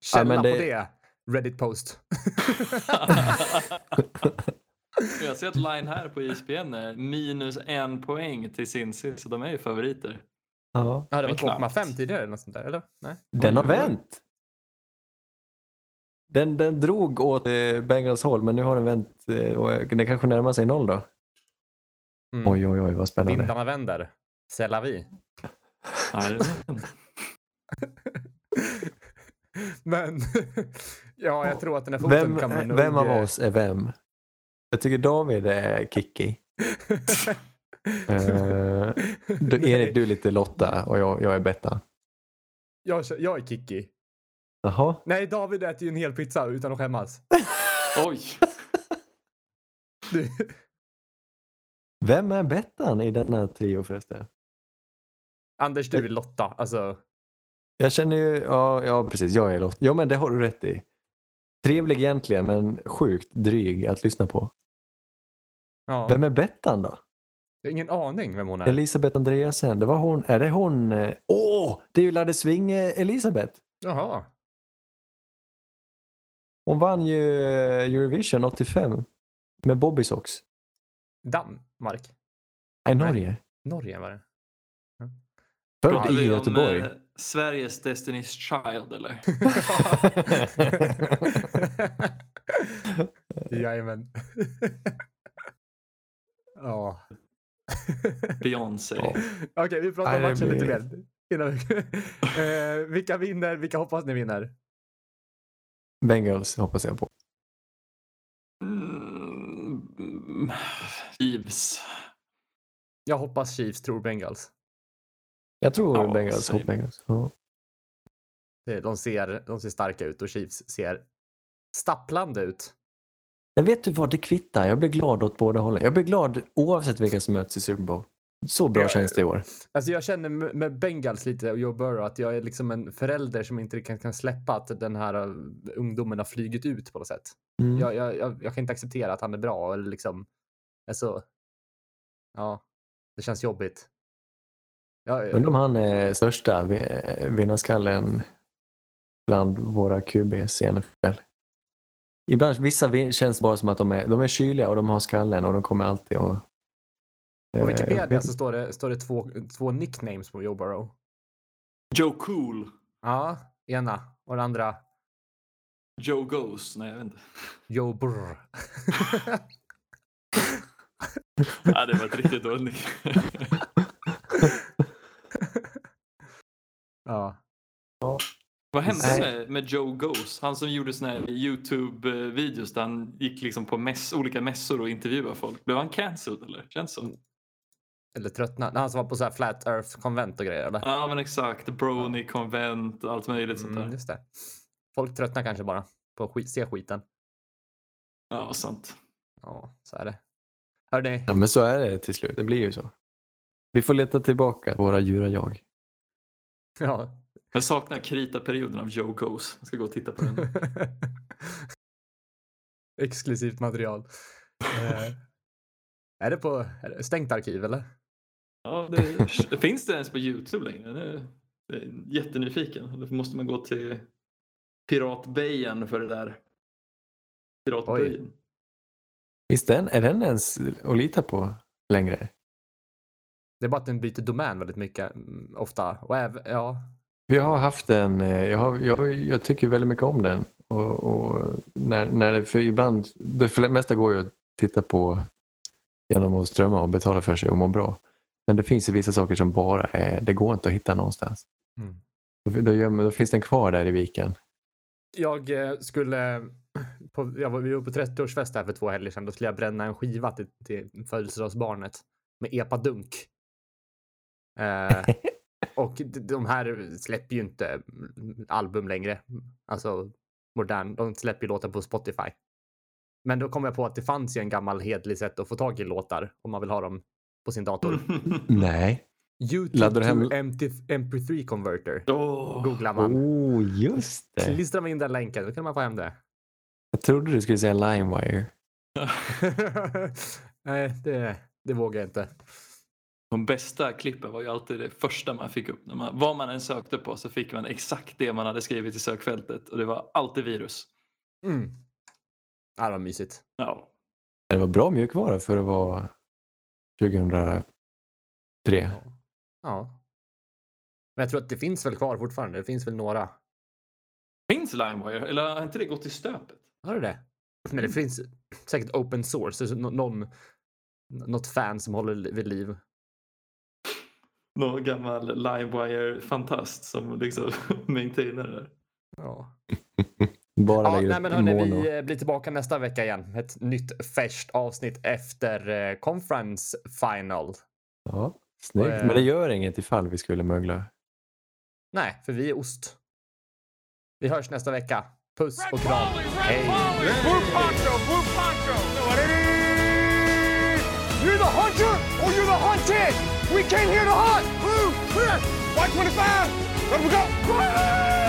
Källa
men det-
på det. Reddit post.
Jag ser att line här på ISBN är minus en poäng till Cincy, så de är ju favoriter.
Ja.
Ja, det var
Men knappt.
2,5 tidigare eller något sånt där, eller? Nej.
Den har vänt. Den, den drog åt eh, Bengals håll, men nu har den vänt. Eh, och den kanske närmar sig noll då.
Mm.
Oj, oj, oj, vad spännande.
Vindarna vänder. C'est la vie.
Jajamän.
(laughs)
Men ja, jag tror att den här foten
Vem,
kommer nog... eh,
vem
(laughs)
av oss är vem? Jag tycker David är
(laughs)
Kikki. Eh, du, Erik, du är lite Lotta och jag, jag är Bettan.
Jag, kör- jag är Kiki.
Jaha.
Nej, David äter ju en hel pizza utan att skämmas.
Oj!
Du, (laughs)
Vem är Bettan i denna trio förresten?
Anders, du är Lotta. Alltså,
Jag känner ju, ja, ja precis, jag är Lotta. Ja men det har du rätt i. Trevlig egentligen men sjukt dryg att lyssna på.
ja.
Vem är Bettan då?
Jag har ingen aning vem hon är.
Elisabeth Andreasen, det var hon, är det hon? eh, Åh, det är ju Ladde Sving eh, Elisabeth.
Jaha.
Hon vann ju eh, Eurovision 85 med Bobby Socks.
Danmark?
I Norge.
Norge var
(laughs)
det. (laughs)
Född
Pratar
i
vi om,
Göteborg.
eh, Sveriges Destiny's Child eller?
Jajamän. (laughs) ja.
Beyoncé.
Ja.
Okej, vi pratar om
Nej, det
matchen lite
blir-
mer. Innan vi... (laughs) eh, vilka vinner? Vilka hoppas ni vinner?
Bengals hoppas jag på.
Mm, Chiefs.
Jag hoppas Chiefs tror Bengals.
Jag tror
Ja,
Bengals.
säg
Hopp Bengals. Ja.
Eh, De ser, de ser starka ut och Chiefs ser stapplande ut.
Jag vet du vad, det kvittar. Jag blir glad åt båda hållen. Jag blir glad oavsett vilka som möts i Super Bowl. Så bra
Ja,
känns det i år.
Alltså jag känner med- med Bengals lite och Joe Burrow att jag är liksom en förälder som inte kan, kan släppa att den här eh, ungdomen har flugit ut på något sätt.
Mm.
Jag, jag, jag, jag kan inte acceptera att han är bra eller liksom. Alltså. Ja, det känns jobbigt. Ja,
Undrar om han är största vi- vinnarskallen bland våra QBs i NFL. Ibland, vissa vin- känns det bara som att de är, de är kyliga och de har skallen och de kommer alltid och... Eh,
på Wikipedia så står det, står det två, två nicknames på Joe Burrow.
Joe Cool.
Ja, ena och den andra
Joe Goes. Nej, jag vet inte.
Joe Burr. (laughs)
Ja, det var ett riktigt dåligt nick.
ja.
Vad hände
Nej.
med, med Joe Goes? Han som gjorde såna här YouTube-videos där han gick liksom på mäss, olika mässor och intervjuade folk. Blev han cancelled eller? Känns så.
Eller tröttna. Han som var på så här Flat Earth konvent och grejer eller?
Ja men exakt. Brony, konvent, allt möjligt sånt
Mm,
där.
just det. Folk tröttnar kanske bara på att skit, se skiten.
Ja, sant.
Ja, så är det. Hörni,
Ja, men så är det till slut. Det blir ju så. Vi får leta tillbaka våra djura jag.
(laughs) ja.
Jag saknar krita-perioden av Joe Goes. Jag ska gå och titta på
(laughs)
den.
Exklusivt material. Eh, är det på är det stängt arkiv eller?
Ja, det, (laughs) finns det ens på YouTube längre? Det, det är jättenyfiken. Då måste man gå till Piratbejen för det där. Piratbejen.
Visst den, är den ens att lita på längre?
Det är bara att den byter domän väldigt mycket mm, ofta. Och även, ja,
Jag har haft den, eh, jag, har, jag, jag tycker väldigt mycket om den. Och, och när, när det, för ibland, det för det mesta går ju att titta på genom att strömma och betala för sig och må bra. Men det finns ju vissa saker som bara är, det går inte att hitta någonstans.
Mm.
Då, då, gömmer- då finns den kvar där i viken.
jag eh, skulle, (clears throat) på, jag var, vi var på 30-årsfest här för två helger sedan. Då skulle jag bränna en skiva till, till födelsedagsbarnet med epadunk.
(laughs)
Eh, och d- de här släpper ju inte album längre. Alltså modern. De släpper ju låtar på Spotify. Men då kom jag på att det fanns ju en gammal hedlig sätt att få tag i låtar om man vill ha dem på sin dator.
Nej.
YouTube
Mm. Laddar
to
du hem-
MT- MP3 converter.
(laughs) Åh.
Googlar man.
Oh, just det.
Klistrar man in den länken, då kan man få hem det.
Jag trodde du skulle säga LimeWire.
(laughs) Nej, det, det vågar jag inte.
De bästa klippen var ju alltid det första man fick upp. När man, vad man än sökte på så fick man exakt det man hade skrivit i sökfältet och det var alltid virus.
Mm. Ja, det var mysigt.
Ja.
Det var bra mjukvara för att vara 2003.
Ja. Men jag tror att det finns väl kvar fortfarande. Det finns väl några.
Finns LimeWire? Eller har inte det gått i stöpet?
Har du det? Men det finns säkert open source. Alltså nå- någon, något fan som håller li- vid liv.
Någon gammal LimeWire-fantast som liksom (laughs) maintainer det där.
Ja.
Bara
Ja,
lägger
nej,
upp
men hörni,
mono.
vi eh, blir tillbaka nästa vecka igen. Ett nytt färskt avsnitt efter eh, conference final.
Ja, snyggt.
Eh.
Men det gör inget ifall vi skulle mögla.
Nej, för vi är ost. Vi hörs nästa vecka. Puss och kram. Hej!
Blue Poncho, Blue Poncho. You're the hunter or you're the hunted. We came here to hunt. Blue, red, white 25. Let we go.